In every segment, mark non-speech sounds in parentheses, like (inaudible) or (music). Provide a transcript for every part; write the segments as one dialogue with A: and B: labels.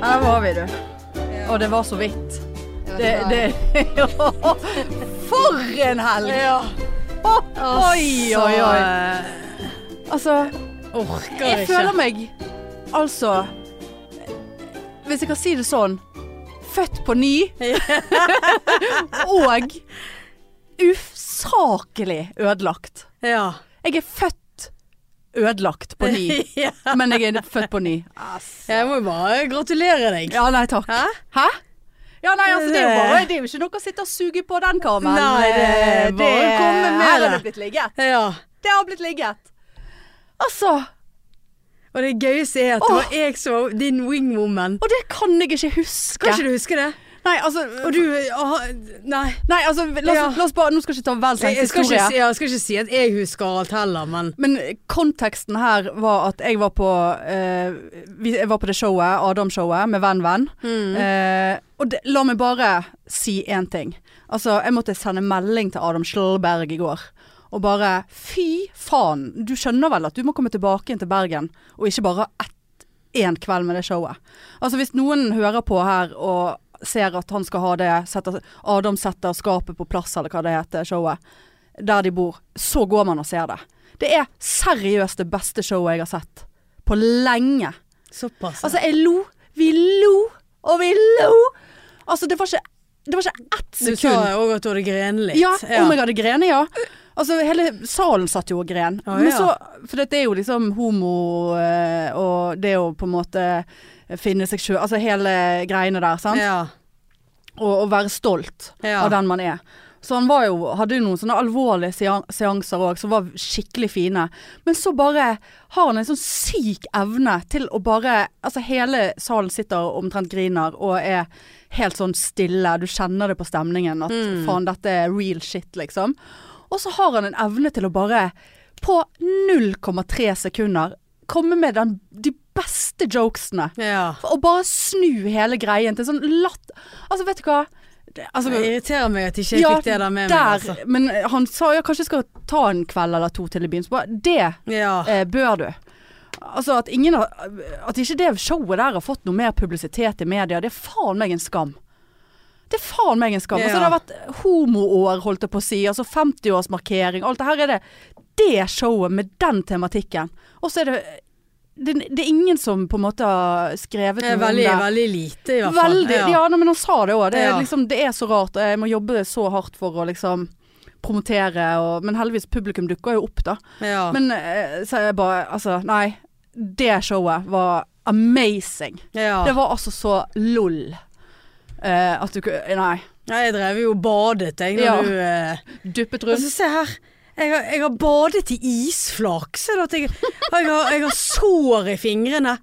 A: var vi, du. Og det var så vidt. Det, det (laughs) Ja. For en helg! Å, Oi, oi, oi. Altså,
B: Orker
A: jeg
B: ikke.
A: føler meg Altså Hvis jeg kan si det sånn Født på (laughs) ny og usakelig ødelagt.
B: Ja.
A: Jeg er født ødelagt på ny,
B: (laughs)
A: (laughs)
B: ja.
A: men jeg er født på ny.
B: Jeg må jo bare gratulere deg.
A: Ja, nei takk.
B: Hæ?
A: Hæ? Ja, nei, altså, det er jo bare Det er jo ikke noe å sitte og suge på den Eh, karmen.
B: Nei, det-
A: det
B: bare komme
A: Her
B: med det.
A: har det blitt ligget.
B: Ja.
A: Det har blitt ligget. Altså
B: Og det gøyeste er at det
A: Åh.
B: var jeg som var din wingwoman.
A: Og det kan jeg ikke huske.
B: Kan ikke du huske det?
A: Nei, altså,
B: Og du ah, Nei.
A: nei, altså la, oss,
B: Ja.
A: la oss bare Nå skal jeg ikke ta verdens
B: Jeg, jeg,
A: lengste
B: skal ikke,
A: historie.
B: si- ja, jeg skal ikke si at jeg husker alt heller, men
A: Men konteksten her var at jeg var på eh, vi- Jeg var på det showet, Adam-showet, med Venn Venn. Eh, og det, la meg bare si én ting. Altså, jeg måtte sende melding til Adam Schlberg i går. Og bare fy faen, du skjønner vel at du må komme tilbake igjen til Bergen, og ikke bare ha ett- én kveld med det showet. Altså hvis noen hører på her og ser at han skal ha det setter, Adam setter skapet på plass, eller hva det heter, showet, der de bor, så går man og ser det. Det er seriøst det beste showet jeg har sett på lenge.
B: såpass.
A: Altså, jeg lo, vi lo, og vi lo. Altså, det var ikke, det var ikke ett
B: du sa
A: sekund.
B: òg at du hadde grenet litt.
A: Ja, Oh om jeg hadde grenet, ja. Altså, hele salen satt jo og gren.
B: Å,
A: Men
B: ja.
A: så, for dette er jo liksom homo eh, og det å på en måte finne seg sjøl Altså hele greiene der, sant.
B: ja.
A: Og, og være stolt
B: Ja.
A: av den man er. Så han var jo, hadde jo noen sånne alvorlige sean- seanser òg, som var skikkelig fine. Men så bare har han en sånn syk evne til å bare Altså hele salen sitter og omtrent griner og er helt sånn stille. Du kjenner det på stemningen at faen, dette er real shit, liksom. Og så har han en evne til å bare på 0,3 sekunder komme med den, de beste jokesene.
B: ja.
A: Og bare snu hele greien til sånn latt... Altså, vet du hva? Det, altså,
B: Det irriterer meg at ikke jeg fikk det der med
A: der,
B: meg. Altså.
A: Men han sa ja, kanskje jeg skal ta en kveld eller to til i byen. Så bare det
B: Ja.
A: eh, bør du. Altså at ingen har At ikke det showet der har fått noe mer publisitet i media, det er faen meg en skam. Det er faen meg en skam. Altså,
B: Ja.
A: det har vært homoår, holdt jeg på å si. Altså 50-årsmarkering. Alt det her er det det showet med den tematikken. Og så er det, det Det er ingen som på en måte har skrevet
B: Det
A: noe
B: er
A: om
B: veldig,
A: det.
B: veldig lite, i hvert fall.
A: Veldig. Ja, nei, men han sa det òg. Det, er
B: Ja.
A: liksom, det er så rart. og Jeg må jobbe så hardt for å liksom promotere, og, men heldigvis publikum dukker jo opp, da.
B: ja.
A: Men eh, så er jeg bare Altså, nei. Det showet var amazing.
B: ja.
A: Det var altså så lol. Eh, at du kunne Nei.
B: Nei, jeg drev jo og badet, jeg, når
A: Ja.
B: du eh,
A: Duppet rundt.
B: Altså, se her. Jeg har, jeg har badet i isflak. Ser du at jeg, jeg, har, jeg har sår i fingrene?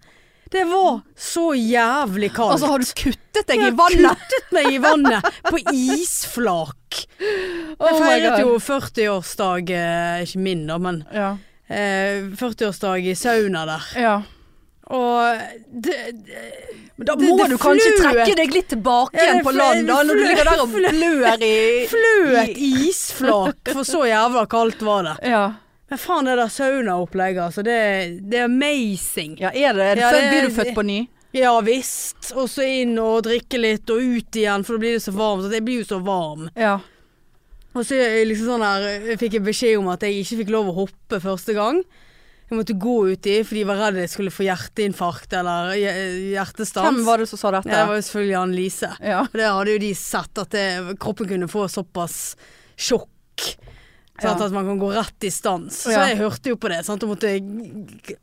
B: Det var så jævlig kaldt.
A: Altså, har du kuttet deg i
B: Jeg har
A: vannet?
B: kuttet meg i vannet på isflak. Jeg
A: Oh my
B: feiret
A: God.
B: jo 40-årsdag, eh, ikke min da, men
A: Ja.
B: eh, 40-årsdag i sauna der.
A: ja.
B: Og det, det,
A: Men da
B: Det-
A: må
B: det
A: du kanskje
B: fløt.
A: trekke deg litt tilbake
B: Ja, det
A: igjen på
B: flø-
A: land, da, når du
B: flø-
A: ligger der og
B: flø-
A: blør i
B: (laughs) fløt isflak, for så jævla kaldt var det.
A: Ja.
B: Men faen, det der saunaopplegget, altså. Det, det er amazing.
A: ja, er det,
B: Ja,
A: så
B: det-
A: blir du født på ny?
B: Ja visst. Og så inn og drikke litt, og ut igjen, for da blir det så varmt. At jeg blir jo så varm.
A: Ja.
B: Og så er jeg liksom sånn her, jeg fikk jeg beskjed om at jeg ikke fikk lov å hoppe første gang. Jeg måtte gå uti, for de var redd jeg skulle få hjerteinfarkt eller hje- hjertestans.
A: Hvem var det som sa
B: Ja,
A: dette?
B: det? var jo selvfølgelig Anne Lise.
A: ja.
B: Og det hadde jo de sett, at det, kroppen kunne få såpass sjokk. Sant,
A: Ja.
B: At man kan gå rett i stans. Så
A: Ja.
B: jeg hørte jo på det. Sant? Og måtte jeg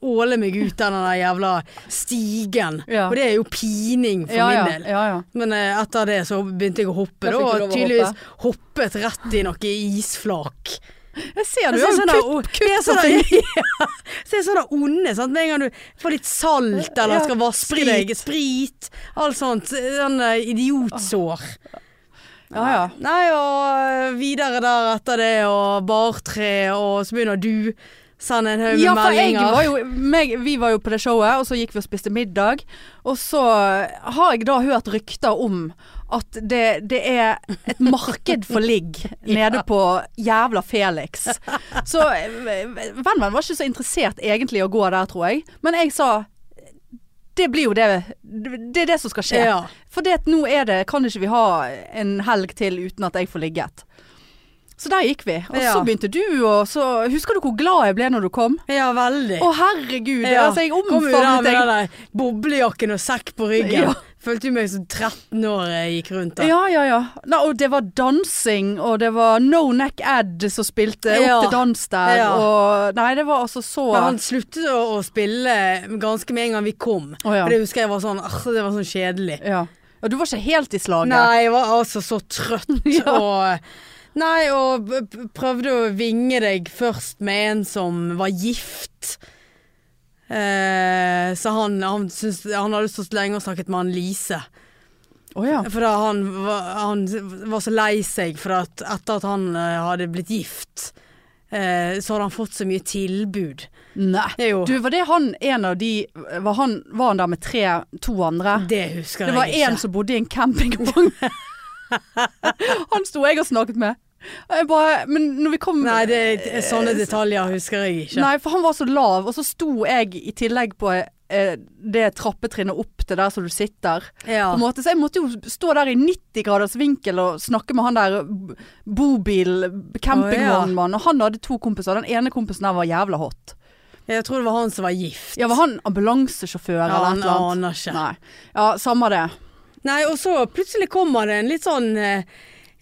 B: åle meg ut den der jævla stigen.
A: Ja.
B: Og det er jo pining for
A: ja, ja,
B: min del.
A: ja, ja.
B: Men eh, etter det så begynte jeg å hoppe,
A: Da
B: da,
A: fikk du
B: og
A: lov å
B: tydeligvis hoppet rett i noe isflak.
A: Jeg ser
B: Jeg
A: du
B: ser
A: har
B: sånne,
A: kutt,
B: o-
A: kutt,
B: det er sånne,
A: ting.
B: (laughs) ja, så er sånne onde, sant. Med en gang du får litt salt eller
A: Ja,
B: skal vaske
A: sprit.
B: deg, sprit, alt sånt. Sånn eh, idiotsår.
A: Ja, ja.
B: Nei, og videre der etter det, og bartre, og så begynner du. Sende en haug med
A: Ja, for jeg
B: meldinger.
A: var jo, meg, vi var jo på det showet, og så gikk vi og spiste middag. Og så har jeg da hørt rykter om at det, det er et marked for
B: (laughs)
A: ligg nede på jævla Felix. Så eh, Venn Venn var ikke så interessert egentlig i å gå der, tror jeg. Men jeg sa det blir jo det Det er det som skal skje.
B: Ja.
A: For det at nå er det Kan ikke vi ha en helg til uten at jeg får ligget? Så der gikk vi. Og
B: Ja.
A: så begynte du, og så Husker du hvor glad jeg ble når du kom?
B: ja, veldig.
A: Å herregud,
B: Ja.
A: altså jeg
B: Kom jo der
A: omfavnet
B: med
A: deg.
B: den der boblejakken og sekk på ryggen.
A: Ja.
B: Følte jo meg som 13 år jeg gikk rundt der.
A: Ja, ja, ja. Nei, og det var dansing, og det var No Neck Ad som spilte
B: Ja.
A: opp til dans der,
B: Ja.
A: og Nei, det var altså så
B: Men han sluttet å, å spille ganske med en gang vi kom.
A: Å, ja.
B: For det husker jeg var sånn «Åh, Det var sånn kjedelig.
A: ja. ja. Du var ikke helt i slaget.
B: Nei, jeg var altså så trøtt
A: (laughs) Ja.
B: og Nei, og p- p- prøvde å vinge deg først med en som var gift. Eh, så han, han, syntes- han hadde stått lenge og snakket med han Lise.
A: Å ja.
B: For da han, var- han var så lei seg for at etter at han eh, hadde blitt gift, eh, så hadde han fått så mye tilbud.
A: Nei.
B: Jo,
A: Du, var det han en av de Var han, var han der med tre, to andre?
B: det husker
A: Det var
B: jeg ikke.
A: en som bodde i en campingvogn.
B: (laughs)
A: han sto jeg og snakket med. Og Jeg bare, men når vi kom
B: Nei, det, det, sånne detaljer husker jeg ikke.
A: Eh, Nei, for han var så lav, og så sto jeg i tillegg på eh, det trappetrinnet opp til der som du sitter.
B: Ja.
A: På en måte, så jeg måtte jo stå der i 90 graders vinkel og snakke med han der b- bobil, campingvognmannen. Og han hadde to kompiser. Den ene kompisen der var jævla hot.
B: Jeg tror det var han som var gift.
A: Ja, var han ambulansesjåfør
B: Ja,
A: eller et
B: han
A: eller annet?
B: aner ikke.
A: Nei. Ja, samme det.
B: Nei, og så plutselig kommer det en litt sånn eh,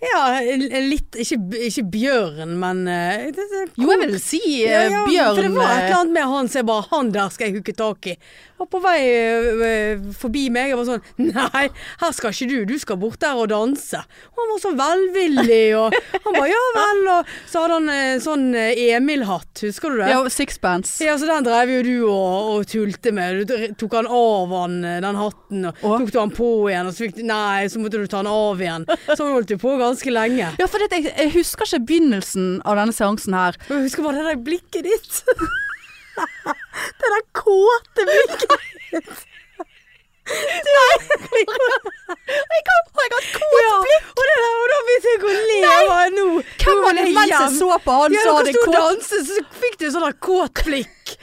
B: Ja, en en litt Ikke, ikke bjørn, men eh, det, det,
A: Jo, jeg vil si
B: ja,
A: eh,
B: ja,
A: Bjørn
B: For det var et
A: eh,
B: eller annet med han som jeg bare Han der skal jeg hooke tak i. Og på vei eh, eh, forbi meg, jeg var sånn (laughs) Nei, her skal ikke du. Du skal bort der og danse. Og han var så velvillig, og han bare Ja vel, og så hadde han eh, sånn eh, Emil-hatt, husker du det?
A: Ja, sixpence.
B: Ja, så den drev jo du og, og tulte med. Du tok han av han, eh, den hatten, og
A: Å?
B: tok du han på igjen, og så fikk du Nei, så måtte du ta han av igjen. Så holdt du på ganske lenge.
A: Ja, for det, jeg, jeg husker ikke begynnelsen av denne seansen her.
B: Og (laughs) jeg husker bare det der blikket ditt. (laughs) det der kåte blikket.
A: Jeg kan, jeg kan kåt
B: Ja, og, det der, og da begynte jeg å le. Jeg bare, nå,
A: Hvem
B: nå
A: var
B: vil
A: det
B: jeg
A: mens jeg
B: hjem.
A: så på han,
B: Ja,
A: så
B: dere
A: hadde
B: sto og
A: kåt
B: danset, så fikk du sånn der kåt blikk.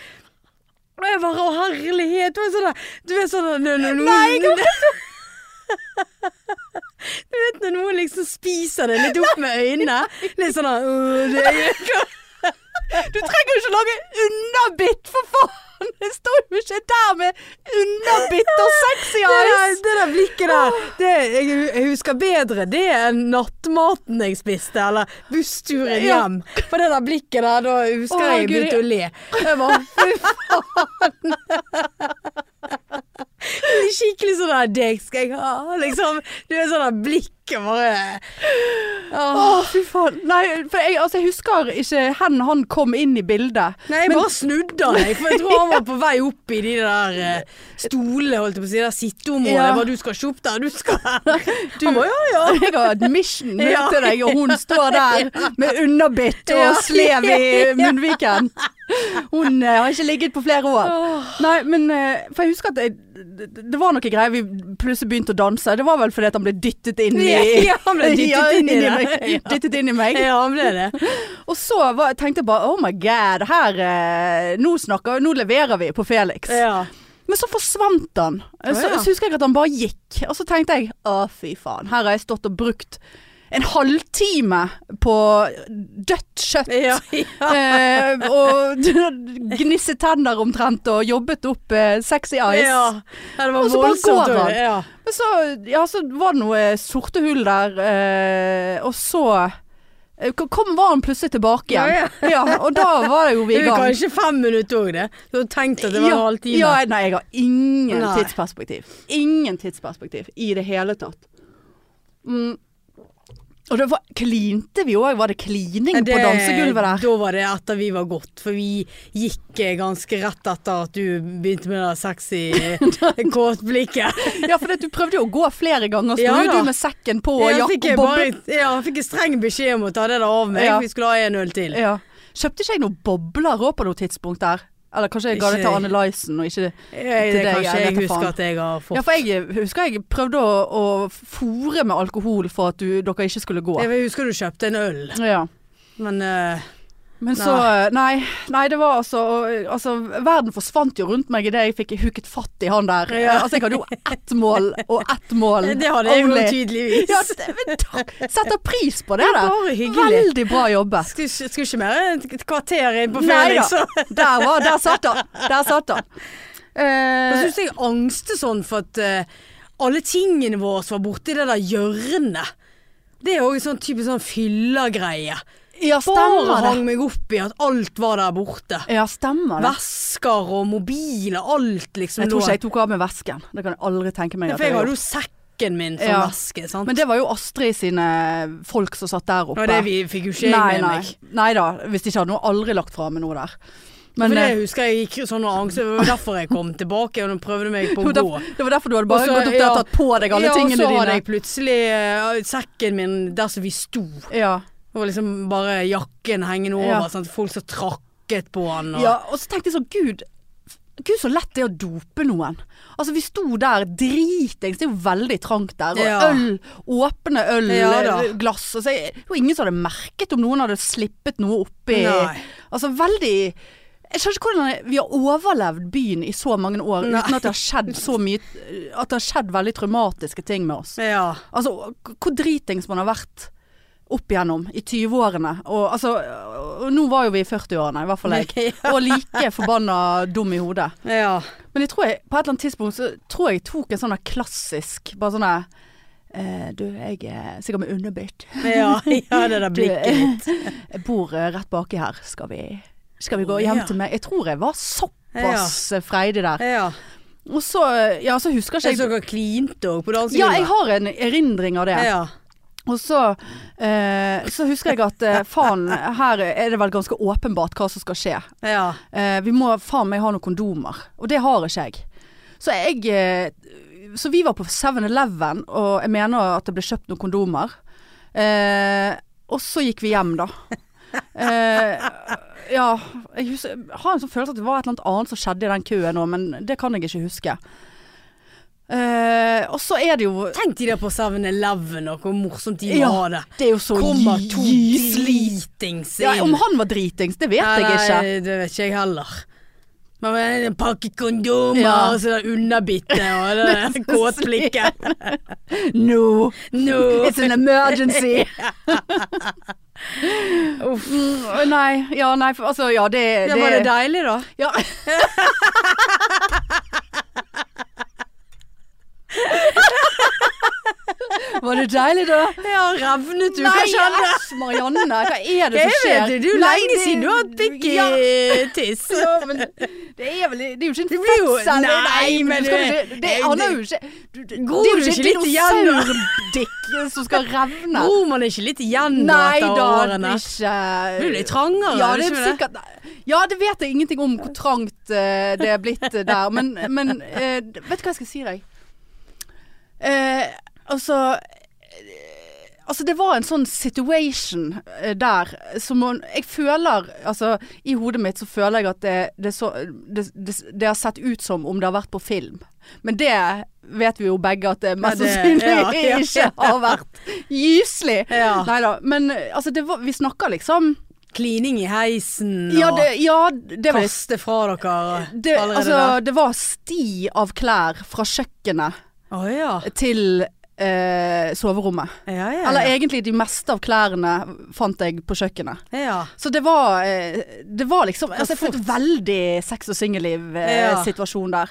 B: Og jeg bare Å, herlighet. Du er sånn der Du er sånn der når- når
A: Nei,
B: (laughs) noen- Du vet når noen liksom spiser det litt opp med øynene. Litt sånn der «Åh, det er-
A: Du trenger jo ikke lage underbitt, for faen! Jeg sto jo ikke der med underbitt og sexy
B: det, der,
A: eyes!
B: det der blikket der, det, jeg, jeg husker bedre det enn nattmaten jeg spiste, eller bussturen
A: Ja.
B: hjem. For det der blikket der, da husker
A: Å,
B: jeg jeg
A: Gud,
B: begynte å le. Jeg bare, fy faen. Skikkelig sånn der, deg skal jeg ha, liksom. Du er sånn der blikket bare.
A: Å,
B: Åh.
A: fy faen. Nei, for jeg, altså, jeg husker ikke hen han kom inn i bildet.
B: Nei, jeg bare snudde han, jeg, for jeg tror han var på vei opp i de der eh, stolene, holdt jeg på å si, der sitteområdet.
A: Ja.
B: Jeg bare, du skal ikke opp der, du skal her. Han bare, ja, ja.
A: (laughs) Jeg har admission ned
B: Ja.
A: til deg, og hun står
B: (laughs)
A: der med underbitt
B: Ja.
A: og slev i munnviken. Hun eh, har ikke ligget på flere år. Nei, men eh, For jeg husker at jeg, det, det var noe greier vi plutselig begynte å danse. Det var vel fordi at han ble dyttet inn i
B: Ja, han ble
A: (laughs)
B: dyttet
A: Ja,
B: inn i det.
A: meg. Dyttet inn i meg.
B: Ja, han ble det.
A: Og så var, tenkte jeg bare oh my god, her eh, nå, snakker, nå leverer vi på Felix.
B: Ja.
A: Men så forsvant han. Eh, Så,
B: Å, ja.
A: så husker jeg at han bare gikk. Og så tenkte jeg å fy faen, her har jeg stått og brukt en halvtime på dødt kjøtt.
B: Ja,
A: (laughs) eh, og gnisset tenner omtrent og jobbet opp eh, sexy eyes.
B: Ja. Ja, det var
A: Og så bare
B: voldsomt,
A: går han.
B: Ja.
A: Men så, ja, så var det noe eh, sorte hull der, eh, og så eh, kom var han plutselig tilbake igjen.
B: Ja,
A: Ja, og da var det
B: (laughs)
A: jo vi i
B: Det er
A: gang.
B: kanskje fem minutter òg, det. Du hadde tenkt at det var en halvtime.
A: Ja, nei, jeg har ingen
B: Nei.
A: tidsperspektiv. Ingen tidsperspektiv i det hele tatt. Mm. Og det var, klinte vi òg? Var det klining
B: Det-
A: på dansegulvet der?
B: (laughs) Da var det etter vi var gått, for vi gikk eh, ganske rett etter at du begynte med det
A: (laughs)
B: sexy eh, kåtblikket.
A: Ja, for det, du prøvde jo å gå flere ganger. Sto
B: Ja
A: jo
B: da.
A: du med sekken på (laughs) og
B: Jeg
A: jakke
B: fikk, jeg
A: og boble.
B: bare, ja, jeg fikk en streng beskjed om å ta det der av meg.
A: Ja.
B: Vi skulle ha en øl til.
A: Ja. Kjøpte ikke jeg noen bobler òg på noe tidspunkt der? Eller kanskje jeg ga det til
B: Ikke-
A: Anne Lysen og ikke
B: Eh, Det
A: til deg,
B: kan ikke
A: jeg vet
B: jeg
A: da
B: huske
A: faen.
B: at jeg har
A: Ja,
B: fått.
A: for jeg husker jeg prøvde å, å fòre med alkohol for at du, dere ikke skulle gå.
B: Jeg husker du kjøpte en øl,
A: Ja.
B: men eh,
A: Men så Nei, nei det var altså og- Altså, verden forsvant jo rundt meg idet jeg fikk hooket fatt i han der.
B: Ja.
A: Eh, Altså, jeg hadde jo ett mål, og ett mål
B: (laughs) Det hadde jeg jo
A: only.
B: tydeligvis.
A: Ja, det, men takk. Setter pris på det, da.
B: Bare hyggelig.
A: Veldig bra jobbet.
B: Skulle ikke- skulle ikke mer enn et kvarter inn på liksom?
A: Nei
B: Felix.
A: da.
B: så-
A: Der, var, der satt han. Der satt han.
B: Jeg
A: Eh,
B: syns jeg angster sånn for at eh, alle tingene våre som var borti det der hjørnet. Det er jo sånn typisk sånn fyllergreie.
A: Eh, ja,
B: Bare
A: stemmer det.
B: hang meg opp i at alt var der borte.
A: Ja, stemmer det.
B: Vesker og mobiler, alt liksom
A: Jeg tror
B: lå-
A: ikke jeg tok av meg vesken. Det kan jeg aldri tenke meg.
B: Ja,
A: at
B: For jeg
A: jeg gjorde.
B: hadde jo sekken min som
A: Ja.
B: veske, sant.
A: Men det var jo Astrid sine folk som satt der
B: og
A: oppe.
B: det vi fikk jo ikke
A: nei,
B: jeg med meg.
A: nei. nei da, hvis de ikke hadde noe aldri lagt fra med noe der. Men
B: for det
A: eh,
B: husker jeg gikk sånn og angst. Det var derfor jeg kom tilbake og prøvde meg på
A: jo,
B: å
A: derf-
B: gå.
A: det var derfor du hadde bare
B: Og så-
A: gått opp der
B: ja.
A: og tatt på deg alle tingene
B: Ja, og så hadde
A: dine.
B: jeg plutselig eh, sekken min der som vi sto.
A: Ja.
B: Det var liksom bare jakken hengende over.
A: Ja.
B: Sant? Folk som trakket på han. Og...
A: ja, og så tenkte jeg sånn, gud Gud, så lett det er å dope noen. Altså, vi sto der dritings, det er jo veldig trangt der. Og
B: Ja.
A: øl, åpne øl,
B: Ja da.
A: glass. Altså, jeg, det var ingen som hadde merket om noen hadde slippet noe oppi.
B: Nei.
A: Altså, veldig Jeg skjønner ikke hvordan vi har overlevd byen i så mange år
B: Nei.
A: uten at det har skjedd så mye At det har skjedd veldig traumatiske ting med oss.
B: Ja.
A: Altså, k- hvor dritings man har vært opp igjennom i 20-årene. Og, altså, og nå var jo vi i 40-årene, i hvert fall
B: (laughs)
A: jeg. Og like forbanna dum i hodet.
B: ja.
A: Men jeg tror jeg, på et eller annet tidspunkt så tror jeg jeg tok en sånn der klassisk Bare sånn der eh, Du, jeg er sikkert med underbitt.
B: Ja, ja, det
A: (laughs)
B: der
A: Du, eh,
B: blikket ditt.
A: Jeg bor eh, rett baki her. Skal vi, skal vi gå
B: Å,
A: hjem
B: ja.
A: til meg? Jeg tror jeg var såpass eh, freidig der.
B: Ja.
A: Og så, ja, så husker
B: Jeg
A: ikke
B: så
A: jeg
B: dere klinte òg på
A: Ja, jeg
B: dansegulvet.
A: har en erindring av det.
B: ja.
A: Og så, eh, så husker jeg at eh, faen, her er det vel ganske åpenbart hva som skal skje.
B: ja.
A: Eh, vi må faen meg ha noen kondomer, og det har ikke jeg. Så jeg eh, Så vi var på 7-Eleven, og jeg mener at det ble kjøpt noen kondomer. Eh, og så gikk vi hjem, da. Eh, ja Jeg husker, jeg har en sånn følelse at det var et eller annet annet som skjedde i den køen nå, men det kan jeg ikke huske. Eh, og så er det jo
B: Tenk de der på 7-Eleven og hvor morsomt de
A: Ja.
B: var det.
A: Det er jo så
B: Kommer to
A: gyselig
B: slitings inn.
A: Ja, om han var dritings, det vet jeg ikke.
B: Nei, det vet ikke jeg heller. Men med en pakke kondomer
A: Ja.
B: og så det underbittet og
A: (laughs)
B: det der kåtblikket.
A: No,
B: No.
A: it's an emergency.
B: (laughs)
A: (laughs)
B: Uff.
A: Mm, nei, ja, nei, for, altså, ja, det,
B: Ja, var det deilig, da? (laughs)
A: Ja. Var det deilig, da?
B: Ja, revnet du, hva
A: Nei,
B: skjedde?
A: æsj, Marianne. Hva er det
B: Jeg
A: som skjer?
B: vet det, det er jo
A: Nei,
B: lenge
A: det-
B: siden du har hatt pikk i
A: Ja,
B: tiss. (laughs)
A: ja, altså, men det er vel Det er jo ikke en
B: blir jo-
A: fødsel.
B: Nei, men
A: du skal
B: det-
A: jo ikke det, Han er jo ikke du- Det
B: Gror
A: det er jo
B: du
A: ikke
B: ikke litt igjen, da?
A: dinosaurdikk som skal revne.
B: Gror man ikke litt igjen da,
A: Nei
B: etter
A: da,
B: årene?
A: ikke
B: Det blir jo litt trangere,
A: Ja,
B: er
A: det
B: det
A: er
B: ikke det?
A: sikkert Ja, det vet jeg ingenting om hvor trangt eh, det er blitt eh, der, men, men eh, vet du hva jeg skal si deg? Eh, altså eh, Altså, det var en sånn situation eh, der som man Jeg føler Altså, i hodet mitt så føler jeg at det, det, så, det, det, det har sett ut som om det har vært på film. Men det vet vi jo begge at det mest
B: det-
A: sannsynlig
B: ja, ja.
A: ikke har vært gyselig.
B: Ja.
A: Nei da. Men eh, altså, det var, vi snakker liksom
B: Klining i heisen
A: Ja,
B: og
A: det, ja, det var
B: kaste fra dere
A: det,
B: allerede
A: altså, det var sti av klær fra kjøkkenet
B: der? Å ja.
A: til eh, soverommet.
B: Ja, ja,
A: Eller
B: ja.
A: egentlig de meste av klærne fant jeg på kjøkkenet.
B: ja.
A: Så det var, eh, det var liksom altså, Jeg
B: fort.
A: følte veldig sex- og
B: Ja.
A: singelliv-situasjon der.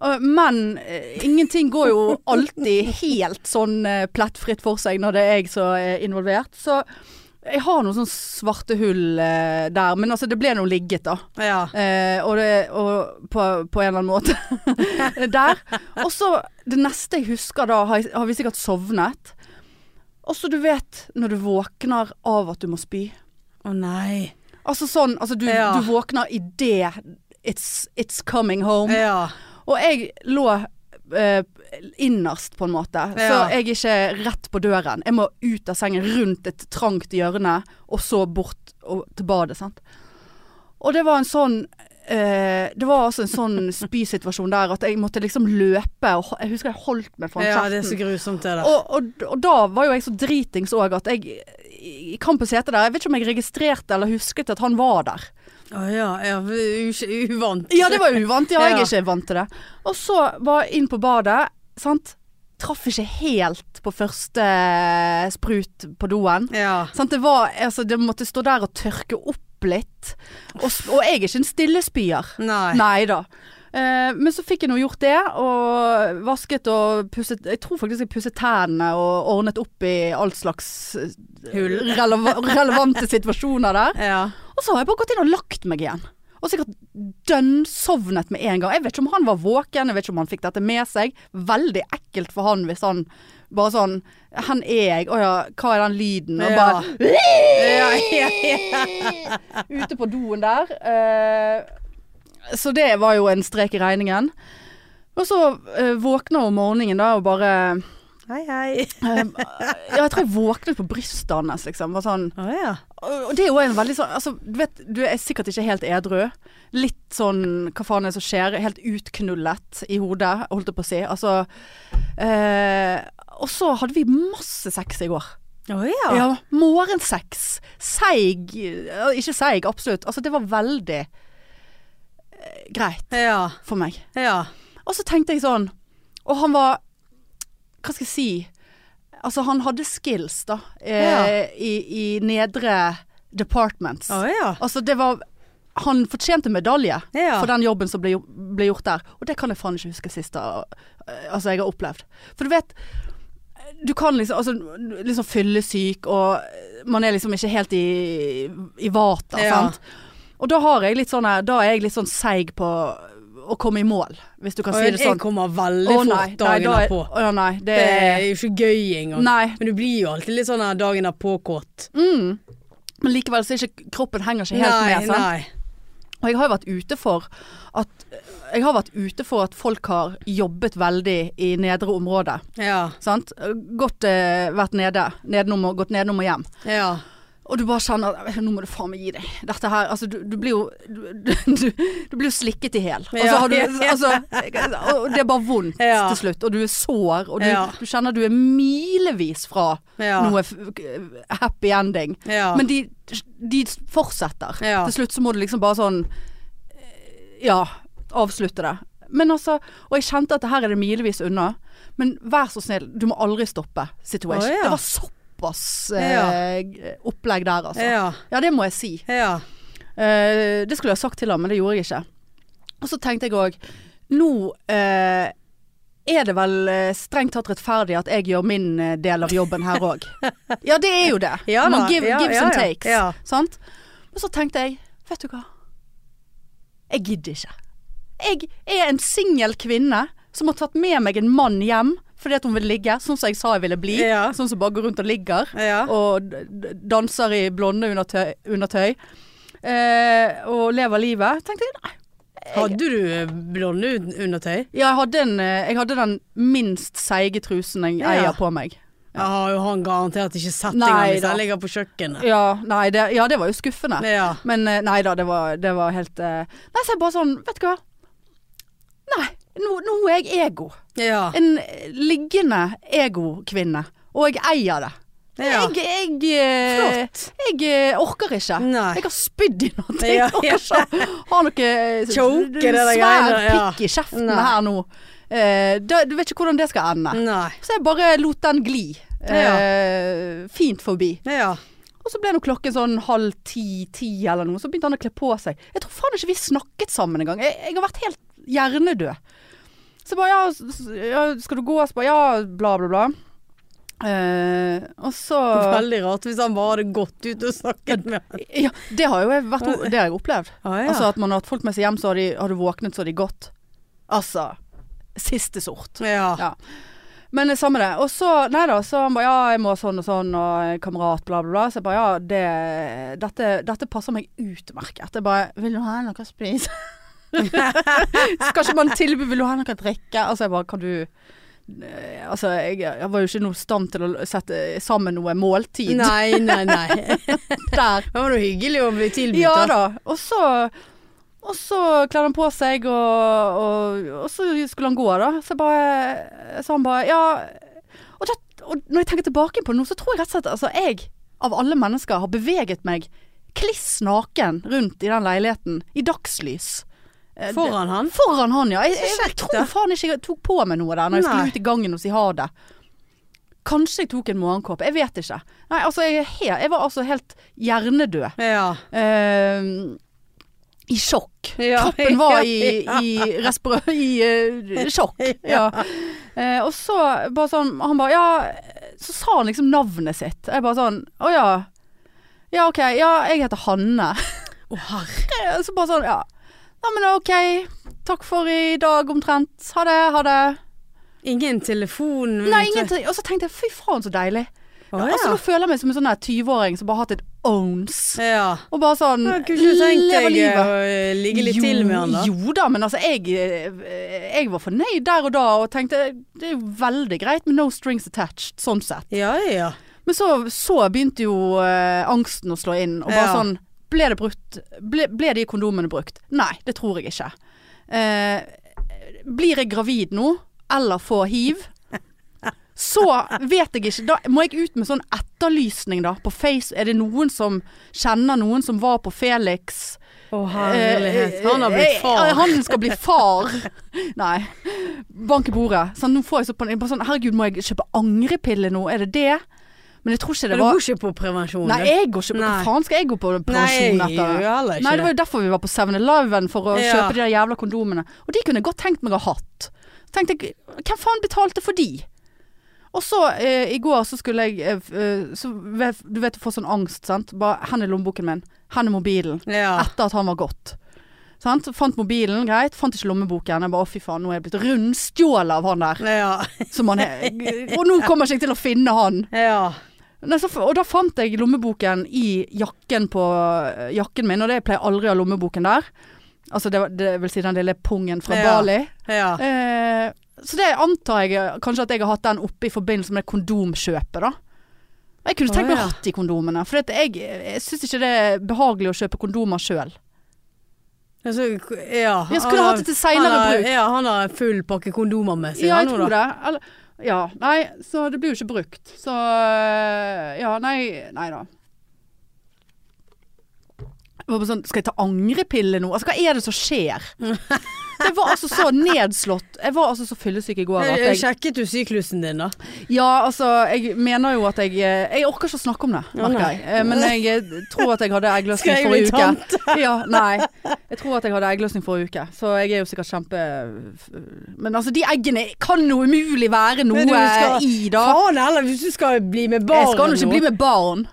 A: Eh, Men eh, ingenting går jo alltid helt sånn eh, plettfritt for seg når det er jeg som er involvert. Så jeg har noen sånne svarte hull eh, der. Men altså, det ble nå ligget, da.
B: ja.
A: Eh, og det, og på, på en eller annen måte. (laughs) Der. Og så det neste jeg husker da, har, jeg, har vi sikkert sovnet. Og så du vet når du våkner av at du må spy.
B: Å nei.
A: Altså sånn, altså du,
B: Ja.
A: du våkner i det it's, it's coming home.
B: Ja.
A: Og jeg lå eh, innerst på en måte, så
B: Ja.
A: jeg er ikke rett på døren. Jeg må ut av sengen, rundt et trangt hjørne, og så bort og, til badet. Sant? Og det var en sånn eh, det var altså en sånn (laughs) spysituasjon der at jeg måtte liksom løpe. Og ho- jeg husker jeg holdt meg foran
B: Ja, det er så
A: kjeften.
B: grusomt det der.
A: og, og, og da var jo jeg så dritings òg at jeg i i kamp på setet der Jeg vet ikke om jeg registrerte eller husket at han var der.
B: Å ja, ja, u- uvant.
A: Ja, det var uvant. Ja, jeg
B: Ja.
A: er ikke vant til det. Og så var jeg inn på badet, sant. Traff ikke helt på første sprut på doen.
B: Ja.
A: Sant, det var Altså, det måtte stå der og tørke opp litt. Og, s- og jeg er ikke en stillespyer.
B: Nei.
A: Nei da. Eh, men så fikk jeg nå gjort det, og vasket og pusset Jeg tror faktisk jeg pusset tennene og ordnet opp i all slags eh,
B: Hull.
A: releva relevante situasjoner der.
B: Ja.
A: Og så har jeg bare gått inn og lagt meg igjen. Og sikkert dønnsovnet med en gang. Jeg vet ikke om han var våken, jeg vet ikke om han fikk dette med seg. Veldig ekkelt for han hvis han bare sånn Han er jeg, å ja, hva er den lyden? Og
B: Ja.
A: bare
B: Ja, ja, ja.
A: (laughs) ute på doen der. eh, så det var jo en strek i regningen. Og så eh, våkna hun om morgenen da og bare
B: Hei, hei.
A: eh, (laughs) Ja, jeg tror jeg våknet på brystet hans, liksom. Var sånn
B: Å ja.
A: og og det er jo en veldig sånn altså, Du vet, du er sikkert ikke helt edru. Litt sånn hva faen er det som skjer? Helt utknullet i hodet, holdt jeg på å si. Altså eh, Og så hadde vi masse sex i går.
B: Å ja.
A: Ja, morgensex. Seig eh, Ikke seig, absolutt. Altså, det var veldig eh, greit
B: Ja.
A: for meg.
B: Ja.
A: Og så tenkte jeg sånn Og han var Hva skal jeg si Altså han hadde skills da eh,
B: Ja.
A: i, I nedre departments
B: Å ja.
A: Altså det var Han fortjente medalje
B: Ja.
A: For den jobben som ble, gjo- ble gjort der Og det kan jeg faen ikke huske sist da eh, Altså jeg har opplevd For du vet Du kan liksom Altså liksom fyllesyk Og man er liksom ikke helt i I vata
B: Ja.
A: sant Og da har jeg litt sånn her- Da er jeg litt sånn seig på Å komme i mål Hvis du kan
B: Og
A: si
B: jeg,
A: det sånn
B: kommer veldig fort dagen
A: da er-
B: derpå.
A: Å ja, nei, det
B: Det er jo ikke gøy engang.
A: Nei.
B: Men du blir jo alltid litt sånn her dagen derpå-kåt.
A: Mm. Men likevel så er ikke kroppen henger ikke helt med. altså. Sant?
B: nei.
A: Og jeg har jo vært ute for at jeg har vært ute for at folk har jobbet veldig i nedre område.
B: Ja.
A: Sant? Gått, eh, vært nede, nedenom og gått nedenom og hjem.
B: Ja.
A: Og du bare kjenner at nå må du faen meg gi deg. Dette her Altså, du, du blir jo Du, (laughs) du, du blir jo slikket i hæl. Og så
B: Ja.
A: har du
B: (laughs)
A: Altså, og det er bare vondt
B: Ja.
A: til slutt. Og du er sår, og du,
B: Ja.
A: du kjenner du er milevis fra
B: Ja.
A: noe f happy ending.
B: Ja.
A: Men de, de fortsetter.
B: Ja.
A: Til slutt så må du liksom bare sånn eh, Ja, avslutte det. Men altså Og jeg kjente at det her er det milevis unna. Men vær så snill, du må aldri stoppe situation.
B: Å, ja.
A: Det var såpass eh, opplegg der, altså.
B: ja.
A: Ja, det må jeg si.
B: Ja.
A: Eh, det skulle jeg ha sagt til ham, men det gjorde jeg ikke. Og så tenkte jeg òg Nå eh, er det vel eh, strengt tatt rettferdig at jeg gjør min eh, del av jobben her òg.
B: (laughs)
A: ja, det er jo det.
B: Ja
A: Man
B: da,
A: give,
B: ja,
A: gives
B: ja,
A: and
B: ja,
A: takes.
B: ja.
A: Sant? Men så tenkte jeg Vet du hva? Jeg gidder ikke. Jeg er en singel kvinne som har tatt med meg en mann hjem fordi at hun vil ligge, sånn som jeg sa jeg ville bli.
B: Ja.
A: Sånn som bare går rundt og ligger
B: Ja.
A: og d- d- danser i blonde undertøy, undertøy eh, og lever livet. Tenkte jeg, nei.
B: Hadde du eh, blonde un- undertøy?
A: Ja, jeg hadde, en, eh, jeg hadde den minst seige trusen jeg
B: Ja.
A: eier på meg.
B: Jeg har jo han garantert ikke sett
A: Nei
B: engang hvis
A: da.
B: jeg ligger på kjøkkenet.
A: Ja, nei, det, ja, det var jo skuffende.
B: Ja.
A: Men eh, nei da, det var, det var helt eh, Nei, så jeg bare sånn, vet du hva. Nei, nå, nå er jeg ego.
B: Ja.
A: En eh, liggende ego-kvinne. Og jeg eier det.
B: ja.
A: Jeg, jeg, eh,
B: Flott.
A: jeg eh, orker ikke.
B: Nei.
A: Jeg har spydd i natt. Jeg
B: Ja,
A: orker
B: ja.
A: ikke
B: (laughs)
A: ha noe eh,
B: Choke, det der
A: svær
B: greiene, ja.
A: pikk i kjeften
B: Nei. Mm.
A: her nå. Eh, da, du vet ikke hvordan det skal ende.
B: Nei.
A: Så jeg bare lot den gli. eh, Fint forbi.
B: Ja.
A: Og så ble nå klokken sånn halv ti-ti eller noe, så begynte han å kle på seg. Jeg tror faen ikke vi snakket sammen engang. Jeg, jeg har vært helt hjernedød. Så jeg bare ja, s- ja, skal du gå? Så bare ja, bla, bla, bla. Eh, og så
B: Veldig rart hvis han bare hadde gått ut og snakket med henne.
A: Ja, det har jo jeg vært Det har jeg opplevd.
B: Ah,
A: Altså at man har hatt folk med seg hjem, så har de, har de våknet så har de gått. Altså Siste sort.
B: ja.
A: Ja. Men det samme det. Og så, nei da, så han bare ja, jeg må sånn og sånn, og en kamerat, bla, bla, bla. Så jeg bare ja, det, dette, dette passer meg utmerket. Jeg bare vil du ha noe å spise? (laughs) Skal ikke man tilby vil du ha noe å drikke? Altså jeg bare kan du Eh, Altså jeg, jeg var jo ikke i noe stand til å sette sammen noe måltid (laughs)
B: Nei, nei, nei.
A: der.
B: Det var noe hyggelig å bli tilbudt.
A: Ja
B: da.
A: da. Og så Og så kledde han på seg, og, og, og så skulle han gå, da. Så, jeg bare, så han bare Ja. Og, det, og når jeg tenker tilbake på det nå, så tror jeg rett og slett altså jeg, av alle mennesker, har beveget meg kliss naken rundt i den leiligheten i dagslys. Eh, det-
B: Foran han.
A: Foran han, ja. Jeg, jeg,
B: Så kjekt, da.
A: tror faen ikke jeg tok på meg noe der når jeg
B: Nei.
A: skulle ut i gangen og si ha det. Kanskje jeg tok en morgenkåpe, jeg vet ikke. Nei, altså, jeg, er he- jeg var altså helt hjernedød.
B: Ja.
A: Eh, I sjokk.
B: Ja,
A: Kroppen var i,
B: (laughs) ja,
A: i, respira i eh,
B: (laughs)
A: sjokk. Ja. Eh, og så bare sånn Han bare Ja, så sa han liksom navnet sitt. Jeg bare sånn Å ja. Ja, OK. Ja, jeg heter Hanne. (laughs)
B: Å, herre.
A: Eh, Så bare sånn Ja. Nei, men OK. Takk for i dag, omtrent. Ha det, ha det.
B: Ingen telefon?
A: Nei, ingenting. Og så tenkte jeg fy faen, så deilig.
B: Mm. Å, ja.
A: Altså, nå føler jeg meg som en sånn her 20-åring som bare har hatt et owns.
B: ja.
A: Og bare sånn
B: Jeg kunne ikke tenkt
A: lever
B: deg
A: livet.
B: å eh, ligge litt til med han da.
A: Jo da, men altså jeg, eh, jeg var fornøyd der og da og tenkte det er jo veldig greit med no strings attached, sånn sett.
B: Ja, ja.
A: Men så, så begynte jo eh, angsten å slå inn, og bare
B: Ja.
A: sånn ble, det brukt, ble, ble de kondomene brukt? Nei, det tror jeg ikke. Eh, blir jeg gravid nå, eller får hiv? Så vet jeg ikke. Da må jeg ut med sånn etterlysning, da. På Face. Er det noen som kjenner noen som var på Felix?
B: Å, herlighet. Han har
A: Eh,
B: blitt
A: eh,
B: far.
A: eh, Han skal bli far. (laughs) Nei. Bank i bordet. Sånn, nå får jeg så panikk. Bare sånn, herregud, må jeg kjøpe angrepille nå? Er det det? Men jeg tror ikke
B: Men
A: det
B: du
A: var
B: går ikke på prevensjon?
A: Nei,
B: du.
A: jeg går ikke på Hva
B: Nei.
A: faen skal jeg gå på pensjon etter?
B: Nei, jeg gjør heller ikke
A: Nei, det var
B: det.
A: jo derfor vi var på 7-Eleven for å
B: Ja.
A: kjøpe de der jævla kondomene. Og de kunne jeg godt tenkt meg å ha hatt. Så tenkte jeg, hvem faen betalte for de? Og så eh, i går så skulle jeg eh, f- eh, så, vet- Du vet du får sånn angst, sant. Bare hen er lommeboken min. Hen er mobilen
B: Ja.
A: etter at han var gått. Sant? Fant mobilen, greit. Fant ikke lommeboken. Jeg bare å fy faen, nå er jeg blitt rundstjålet av han der.
B: Ja.
A: Som han er. Og nå kommer ikke jeg til å finne han.
B: ja.
A: Nei, så, og da fant jeg lommeboken i jakken på eh, jakken min, og det jeg pleier aldri å ha lommeboken der. Altså det, var- det vil si den lille pungen fra
B: Ja.
A: Bali.
B: ja.
A: Eh, så det antar jeg kanskje at jeg har hatt den oppe i forbindelse med kondomkjøpet, da. Jeg kunne tenkt meg
B: Å, ja.
A: å ha de kondomene, for at jeg, jeg syns ikke det er behagelig å kjøpe kondomer sjøl.
B: Altså, ja.
A: Jeg skulle
B: han
A: hatt det til senere
B: han har-
A: bruk.
B: Ja, han har full pakke kondomer med seg.
A: Ja,
B: han
A: jeg
B: nå,
A: tror
B: da.
A: det. Eller, ja, nei, så det blir jo ikke brukt. Så eh, ja, nei, nei da. Jeg var bare Sånn, skal jeg ta angrepille nå? Altså, hva er det som skjer? Jeg var altså så nedslått. Jeg var altså så fyllesyk i går at
B: Eh,
A: jeg
B: Sjekket du syklusen din, da?
A: Ja, altså, jeg mener jo at jeg eh, Jeg orker ikke å snakke om det,
B: Å,
A: merker
B: nei.
A: jeg. Eh, Men jeg eh, tror at jeg hadde eggløsning
B: Skal jeg bli
A: forrige uke.
B: sånn.
A: (laughs) Ja, nei. Jeg tror at jeg hadde eggløsning forrige uke, så jeg er jo sikkert kjempe... Men altså, de eggene kan jo umulig være noe
B: Men du skal-
A: i, da.
B: Faen heller, hvis du skal bli med barn
A: Jeg skal jo ikke
B: nå.
A: bli med barn.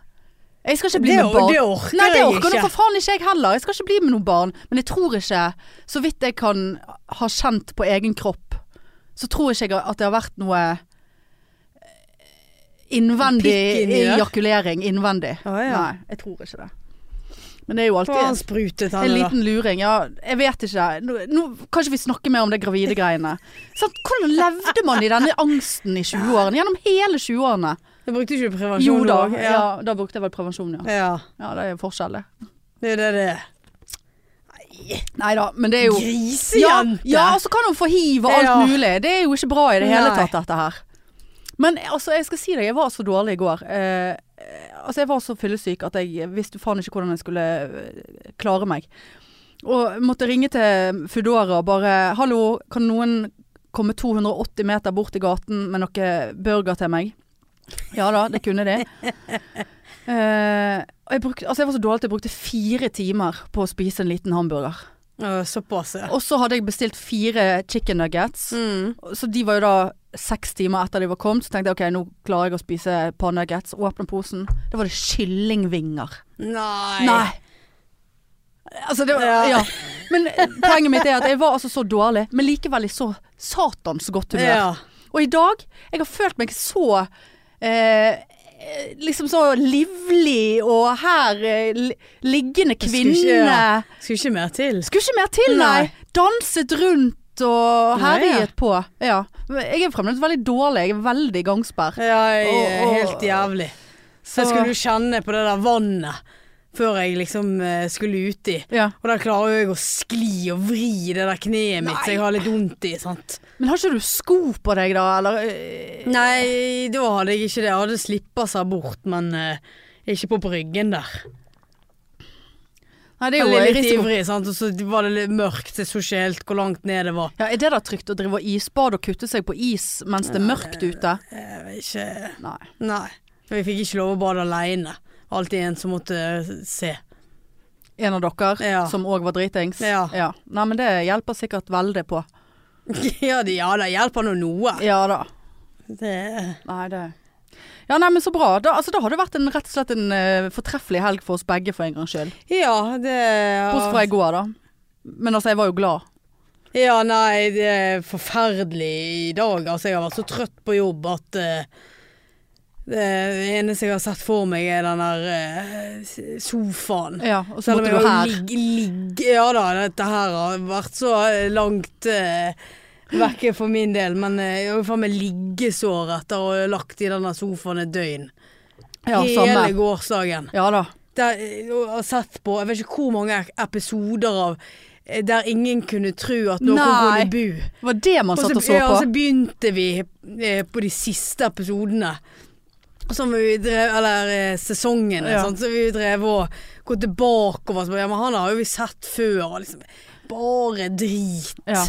A: Jeg skal ikke bli
B: Det-
A: med barn.
B: det orker
A: Nei, det
B: jeg
A: orker nå
B: ikke.
A: for faen ikke jeg heller. Jeg skal ikke bli med noen barn. Men jeg tror ikke, så vidt jeg kan ha kjent på egen kropp, så tror ikke jeg at det har vært noe eh, innvendig
B: Pikk inni der?
A: ejakulering. Innvendig.
B: Å, ja.
A: Nei, jeg tror ikke det. Men det er jo
B: Hva har han
A: alltid
B: sprutet
A: en
B: henne, da?
A: liten luring, ja. Jeg vet ikke. Nå, nå kan ikke vi snakke mer om det
B: (laughs)
A: gravide greiene. Sant? Hvordan levde man i denne angsten i 20-årene? Gjennom hele 20-årene.
B: Du brukte ikke prevensjon?
A: Jo da,
B: også?
A: ja, da brukte jeg vel prevensjon, ja.
B: ja.
A: Ja, det er jo forskjell, det.
B: Det er det det er.
A: Nei da, men det er jo ja,
B: Grisejente!
A: ja, og så kan hun få hiv og alt
B: Ja.
A: mulig. Det er jo ikke bra i det hele
B: Nei.
A: tatt, dette her. Men altså, jeg skal si deg, jeg var så dårlig i går. Eh, altså, jeg var så fyllesyk at jeg visste faen ikke hvordan jeg skulle eh, klare meg. Og måtte ringe til Foodora og bare Hallo, kan noen komme 280 meter bort i gaten med noe burger til meg? Ja da, det kunne
B: (laughs)
A: de. Eh, og jeg, brukte, altså jeg var så dårlig at jeg brukte fire timer på å spise en liten hamburger.
B: Å, Såpass, ja.
A: Og så hadde jeg bestilt fire chicken nuggets.
B: Mm.
A: Så de var jo da seks timer etter de var kommet. Så tenkte jeg ok, nå klarer jeg å spise et par nuggets. Åpne posen. Da var det kyllingvinger.
B: Nei.
A: Nei. Altså det var,
B: Ja.
A: ja. Men poenget mitt er at jeg var altså så dårlig, men likevel i så satans godt humør.
B: Ja.
A: Og i dag, jeg har følt meg så eh, eh, Liksom så livlig og her eh, li- liggende
B: skulle
A: kvinne
B: ikke- ja. Skulle ikke mer til.
A: skulle ikke mer til, nei.
B: Nei.
A: Danset rundt og
B: Nei, ja.
A: herjet på. Ja. Men Jeg er fremdeles veldig dårlig. Jeg er veldig gangsperr.
B: Ja, jeg,
A: Og- og-
B: helt jævlig.
A: Så
B: Jeg skulle jo kjenne på det der vannet før jeg liksom eh, skulle uti.
A: Ja.
B: Og der klarer jeg å skli og vri det der kneet mitt som jeg har litt vondt i. sant?
A: Men har ikke du sko på deg da, eller? eh,
B: Nei, da hadde jeg ikke det. Jeg hadde slippa seg bort, men eh, ikke på bryggen der.
A: Nei, det
B: Jeg
A: er jo
B: var
A: eh,
B: litt
A: risiko.
B: ivrig, sant? og så var det litt mørkt. så Jeg så ikke helt hvor langt ned det var.
A: Ja, er det da trygt å drive og isbad og kutte seg på is mens det er mørkt ute?
B: Jeg vet ikke
A: Nei.
B: Nei. Vi fikk ikke lov å bade aleine. Alltid en som måtte eh, se. (laughs)
A: En av dere
B: Ja.
A: som òg var dritings?
B: Ja.
A: Nei, men det hjelper sikkert veldig på.
B: ja, det, ja, det hjelper nå noe.
A: Ja da.
B: Det,
A: Nei, det Ja, nei, men så bra. Da, altså, da har det vært en, rett og slett en eh, fortreffelig helg for oss begge, for en gangs skyld.
B: ja, det
A: Bortsett fra i går, da. Men altså, jeg var jo glad.
B: Ja, nei, det er forferdelig i dag. Altså, jeg har vært så trøtt på jobb at eh, det eneste jeg har sett for meg, er den der eh, s- sofaen.
A: Ja, og så
B: Selv om
A: måtte
B: jeg
A: du
B: jo
A: her.
B: ligge, ligge Ja da, dette her har vært så langt eh, vekke for min del. Men eh, jeg har jo faen meg liggesår etter å ha lagt i denne sofaen et døgn.
A: Ja,
B: Hele
A: samme.
B: gårsdagen.
A: Ja da.
B: Der, eh, og har sett på Jeg vet ikke hvor mange episoder av eh, der ingen kunne tro at noen
A: Nei.
B: kunne bu.
A: Det var det man
B: Og
A: satt og
B: så,
A: så
B: ja, og så
A: på.
B: begynte vi eh, på de siste episodene. Som vi drev, eller eh, sesongene.
A: Ja.
B: sant? Så vi drev og gå tilbake over. så bare, Ja, men han har jo vi sett før. og Liksom. Bare drit.
A: Ja.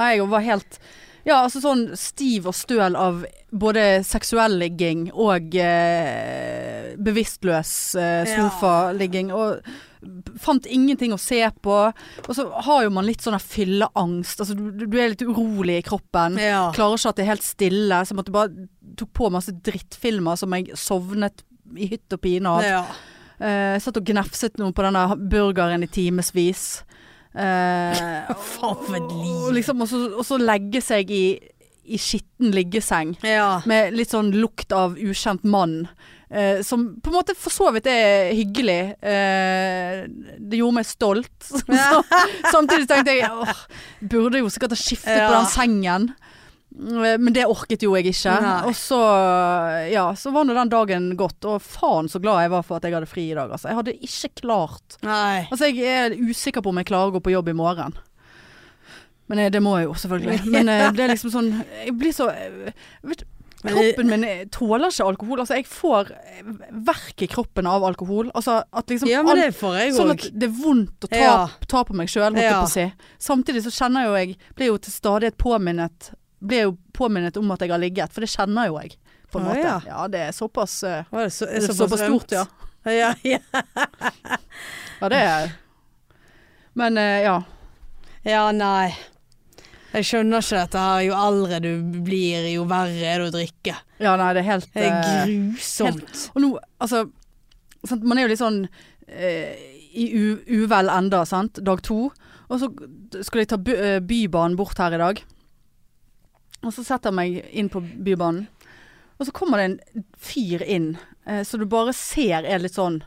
A: Nei, jeg var helt Ja, altså sånn stiv og støl av både seksuell ligging og eh, bevisstløs eh,
B: Ja.
A: sofaligging. Og b- fant ingenting å se på. Og så har jo man litt sånn her fylleangst. Altså du, du- du er litt urolig i kroppen.
B: Ja.
A: Klarer ikke at det er helt stille. Så jeg måtte bare tok på masse drittfilmer som jeg sovnet i hytt og pine av.
B: Ja.
A: Eh, satt og gnefset noe på denne burgeren i timevis. Eh,
B: Faen for et liv.
A: og liksom, og så- og så legge seg i, i skitten liggeseng.
B: ja.
A: Med litt sånn lukt av ukjent mann. Eh, som på en måte for så vidt er hyggelig. Eh, det gjorde meg stolt. (laughs) Så, samtidig tenkte jeg åh, burde jo sikkert ha skiftet på
B: Ja.
A: den sengen. Eh, Men det orket jo jeg ikke.
B: Nei.
A: Og så, ja, så var nå den dagen gått. Og faen så glad jeg var for at jeg hadde fri i dag, altså. Jeg hadde ikke klart
B: Nei.
A: Altså, jeg er usikker på om jeg klarer å gå på jobb i morgen. Men eh, det må jeg jo,
B: (laughs)
A: selvfølgelig. Men eh, det er liksom sånn Jeg blir så eh, vet, du,
B: Men det-
A: Kroppen min eh, tåler ikke alkohol. Altså, jeg får eh, verk i kroppen av alkohol. Altså at liksom
B: Ja, men
A: alt-
B: det får jeg
A: Sånn at
B: òg.
A: det er vondt å ta,
B: Ja.
A: ta på meg sjøl, holdt jeg
B: Ja.
A: på å si. Samtidig så kjenner jo jeg Blir jo til stadighet påminnet Blir jo påminnet om at jeg har ligget, for det kjenner jo jeg, på en
B: Å,
A: måte. Ja.
B: ja.
A: det er såpass eh,
B: Var det så,
A: Det er
B: såpass
A: såpass
B: ømt?
A: stort, ja.
B: ja, (laughs) ja.
A: Ja, det er Men eh, ja.
B: Ja, nei. Jeg skjønner ikke dette her. Jo eldre du blir, jo verre er det å drikke.
A: Ja, nei, det er helt
B: Det er
A: eh,
B: grusomt.
A: Og nå, altså sant, Man er jo litt sånn eh, i u uvel enda, sant? Dag to. Og så skulle jeg ta by eh, Bybanen bort her i dag. Og så setter jeg meg inn på Bybanen. Og så kommer det en fyr inn, eh, så du bare ser er litt sånn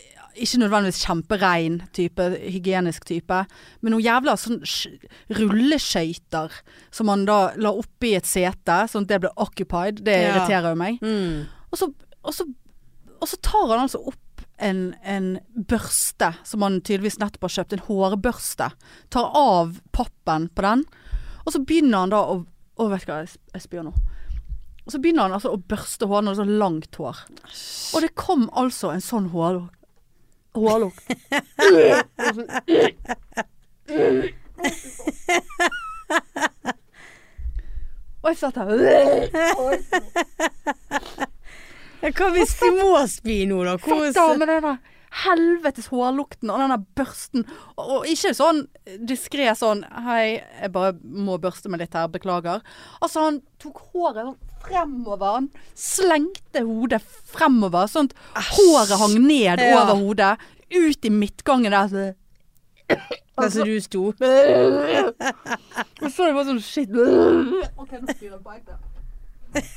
A: ja, ikke nødvendigvis kjemperein type, hygienisk type, men noen jævla sånn sk- rulleskøyter som man da la oppi et sete, sånn at det ble occupied. Det
B: Ja.
A: irriterer jo meg.
B: Mm.
A: Og så, og så, og så tar han altså opp en, en børste som han tydeligvis nettopp har kjøpt, en hårbørste. Tar av pappen på den, og så begynner han da å Å, vet du hva, jeg sp- jeg spyr nå. Og så begynner han altså å børste håret når det er så langt hår. Og det kom altså en sånn hårlukt. Hårlukt. Og jeg satt her
B: Ja, hva hvis du må spy nå, da? Hvor
A: Fuck da med den der helvetes hårlukten og den der børsten. Og, og ikke sånn diskré sånn Hei, jeg bare må børste meg litt her, beklager. Altså, han tok håret sånn fremover. Han slengte hodet fremover, sånn at håret hang ned
B: Ja.
A: over hodet. Ut i midtgangen der. Så
B: Der
A: altså-
B: som du sto?
A: Og så det bare sånn shit OK, nå spyr jeg på ekte. (laughs)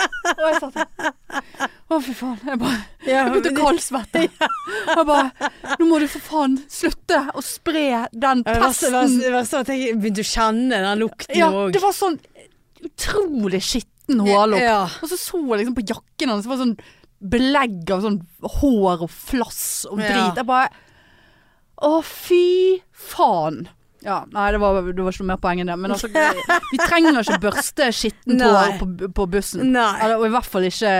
A: Og jeg satt der. Å, fy faen. Jeg bare
B: Ja,
A: Jeg begynte å (laughs) kaldsvette. Jeg bare Nå må du for faen slutte å spre den
B: Det verste
A: pesten.
B: det verste var at jeg begynte å kjenne den lukten
A: Ja,
B: òg.
A: det var sånn utrolig skitten hårlukt.
B: Ja.
A: Og så så jeg liksom på jakken hans, det var sånn belegg av sånn hår og flass og drit.
B: Ja.
A: Jeg bare Å, fy faen. Ja, nei, det var, det var ikke noe mer poeng enn det.
B: (laughs)
A: Men altså, vi trenger ikke børste skittent hår
B: Nei.
A: på, på bussen.
B: Nei.
A: Eller, og i hvert fall ikke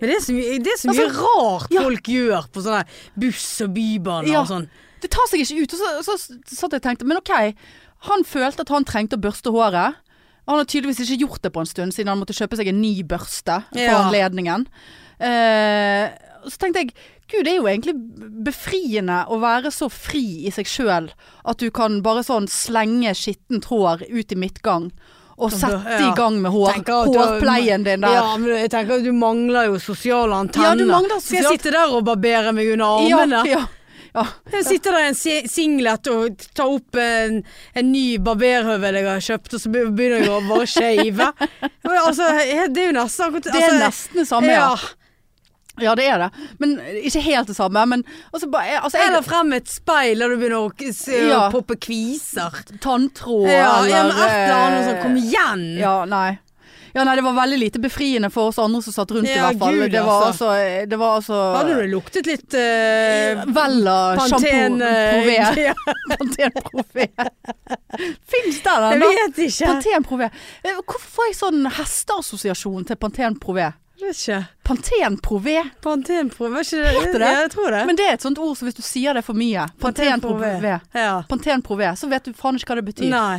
B: Men det er så mye, det er så mye
A: Altså,
B: rart folk gjør på sånne buss og bybaner
A: Ja.
B: og sånn.
A: Det tar seg ikke ut. Og så, så, satt jeg og tenkte, men ok, han følte at han trengte å børste håret. Han har tydeligvis ikke gjort det på en stund, siden han måtte kjøpe seg en ny børste for
B: Ja.
A: anledningen. Eh, så tenkte jeg, gud, det er jo egentlig befriende å være så fri i seg sjøl at du kan bare sånn slenge skittent hår ut i midtgang. Og
B: bør-
A: sette
B: ja.
A: i gang med hår,
B: Tenker at du-
A: hårpleien din der.
B: Ja, men jeg tenker at du mangler jo sosiale antenner.
A: Ja, du mangler
B: Skal jeg
A: sosialt-
B: sitte der og barbere meg under
A: ja,
B: armene?
A: ja, ja.
B: Jeg sitter der i en si- singlet og tar opp en, en ny barberhøvel jeg har kjøpt, og så be- begynner jeg å
A: (laughs)
B: bare shave. Men Altså, det er jo nesten akkurat
A: Det er nesten det samme, ja.
B: Altså, ja.
A: Ja, det er det. Men ikke helt det samme. Men altså, bare, altså jeg,
B: Eller frem et speil der du begynner å k- se,
A: Ja.
B: poppe kviser.
A: Tanntråd
B: Ja, ja, men et eller annet
A: eh,
B: sånn, kom igjen!
A: Ja, nei. Ja, nei, det var veldig lite befriende for oss andre som satt rundt i
B: Ja,
A: hvert fall.
B: Gud,
A: det var
B: altså.
A: altså, det var altså
B: Hadde det luktet litt eh,
A: Vella
B: Pantene eh,
A: (laughs) sjampo-prové.
B: (laughs) ja,
A: Pantene-prové. Fins der
B: Jeg
A: ennå?
B: vet ikke.
A: Pantene-prové. Eh, Hvorfor får jeg sånn hesteassosiasjon til Pantene-prové?
B: Jeg vet ikke.
A: Pantene-prové?
B: Pantene-prové, var ikke
A: Heter det?
B: Ja, jeg tror det.
A: Men det er et sånt ord som hvis du sier det for mye, Pantene-prové,
B: Ja.
A: Pantene-prové, så vet du faen ikke hva det betyr.
B: Nei.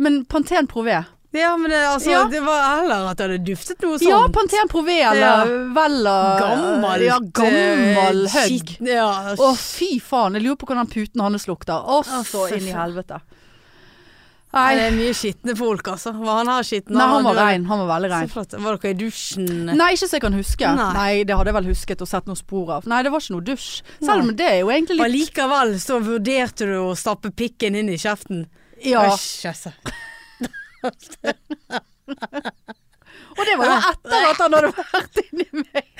A: Men Pantene-prové
B: Ja, men det, altså,
A: Ja.
B: det var heller at det hadde duftet noe sånt.
A: Ja, Pantene Prové eller
B: Sånn. Ja.
A: Vella.
B: Gammelt.
A: Ja, gammel
B: eh,
A: høgg.
B: skitten- Ja,
A: Å, fy faen. Jeg lurer på hvordan puten hans lukter. Å,
B: Å,
A: så
B: fy
A: inn i
B: faen.
A: helvete.
B: Nei, det
A: Nei,
B: er mye skitne folk, altså. Var han her skitten?
A: nei han var
B: du-
A: rein. Han var veldig
B: Så
A: rein.
B: flott. Var dere i dusjen?
A: Nei, ikke så jeg kan huske.
B: Sånn, eh. Nei.
A: Nei, det hadde jeg vel husket og sett noen spor av. Nei, det var ikke noe dusj. Selv om det er jo egentlig
B: Og
A: litt
B: likevel så vurderte du å stappe pikken inn i kjeften.
A: Ja.
B: Æsj, altså.
A: Og det var jo etter at han hadde vært inni meg.
B: (laughs)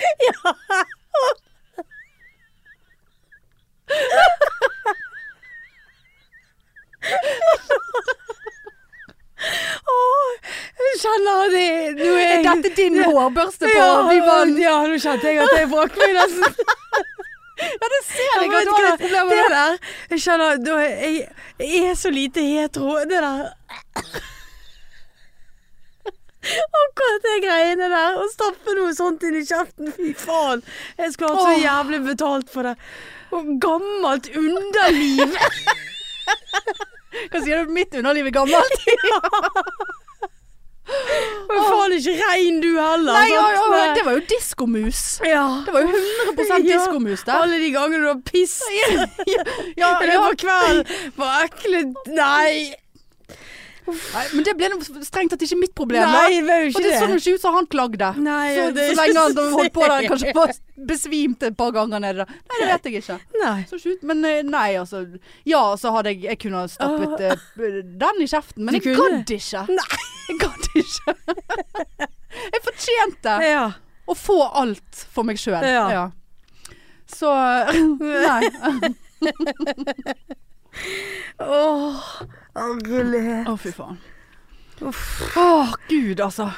B: Jeg kjenner at det nå er jeg-
A: Dette er din hårbørste på.
B: ja,
A: Vi var
B: ja, nå kjente jeg at jeg brakk meg (laughs) nesten.
A: Ja, det ser
B: Jeg
A: jeg at
B: vet
A: du har
B: ikke
A: litt problemer
B: det
A: med.
B: der. Jeg kjenner da, jeg, jeg er så lite hetero. Det der (laughs) Akkurat det greiene der. Å stappe noe sånt inn i kjeften. Fy faen. Jeg skulle hatt så
A: Åh.
B: jævlig betalt for det. Og gammelt underliv. (laughs)
A: Hva sier du? Mitt underliv er gammelt?
B: Og faen ikke rein du heller.
A: Nei, ja, ja,
B: sant?
A: ja,
B: Nei.
A: det var jo diskomus.
B: ja.
A: Det var jo 100
B: (laughs) Ja.
A: diskomus der.
B: Alle de gangene du har (laughs) pisset
A: ja, ja,
B: i løpet av kvelden på ekle Nei.
A: Nei, men det ble noe strengt tatt ikke mitt problem. da.
B: Nei, det var jo
A: og
B: ikke
A: det
B: det. sånn-
A: så jo ikke ut som han klagde.
B: Nei,
A: så,
B: ja, det er
A: så lenge han
B: ikke så
A: holdt på der,
B: sikkert.
A: kanskje bare besvimte et par ganger nede der. Nei, det vet jeg ikke.
B: Nei.
A: Så ikke ut. Men eh, nei, altså. Ja, så hadde jeg Jeg kunne ha stappet eh, den i kjeften, men
B: Du
A: jeg
B: kunne?
A: gadd ikke.
B: Nei.
A: Jeg gadd ikke. (laughs) Jeg fortjente
B: Ja.
A: å få alt for meg sjøl.
B: Ja.
A: Så (laughs) Nei.
B: Åh, oh, gullighet.
A: Å, fy faen. Å, gud, altså.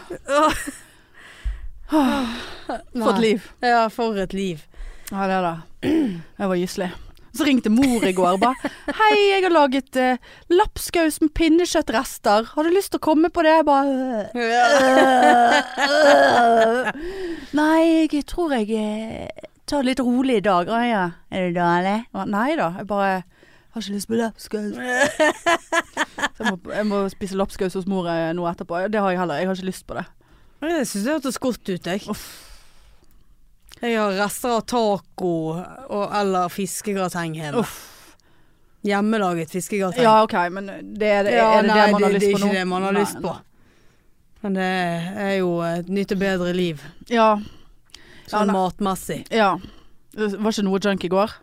A: For et liv.
B: Ja, for et liv.
A: Ja, det er det. Jeg var gyselig. Så ringte mor i går og bare 'Hei, jeg har laget eh, lapskaus med pinnekjøttrester. Har du lyst til å komme på det?' Jeg bare øh, øh, øh. Nei, jeg tror jeg eh, tar det litt rolig i dag. Å ja. Er det dårlig? Jeg bare, Nei da. Jeg bare har ikke lyst på (laughs) lapskaus. Så jeg må, jeg må spise lapskaus hos mor eh, nå etterpå. Det har jeg heller. Jeg har ikke lyst på det.
B: Jeg synes det hørtes godt ut, jeg. Jeg har rester av taco og, eller fiskegrateng hjemme.
A: Uff.
B: Hjemmelaget fiskegrateng.
A: Ja, OK, men det er, det-
B: Ja,
A: er det,
B: nei,
A: det man har
B: det-
A: lyst
B: det
A: på
B: er
A: nå?
B: ikke det man har
A: Nei,
B: lyst på. Men det er jo et nytt og bedre liv,
A: Ja. Ja,
B: sånn
A: nei.
B: matmessig.
A: Ja. Det var ikke noe junk i går?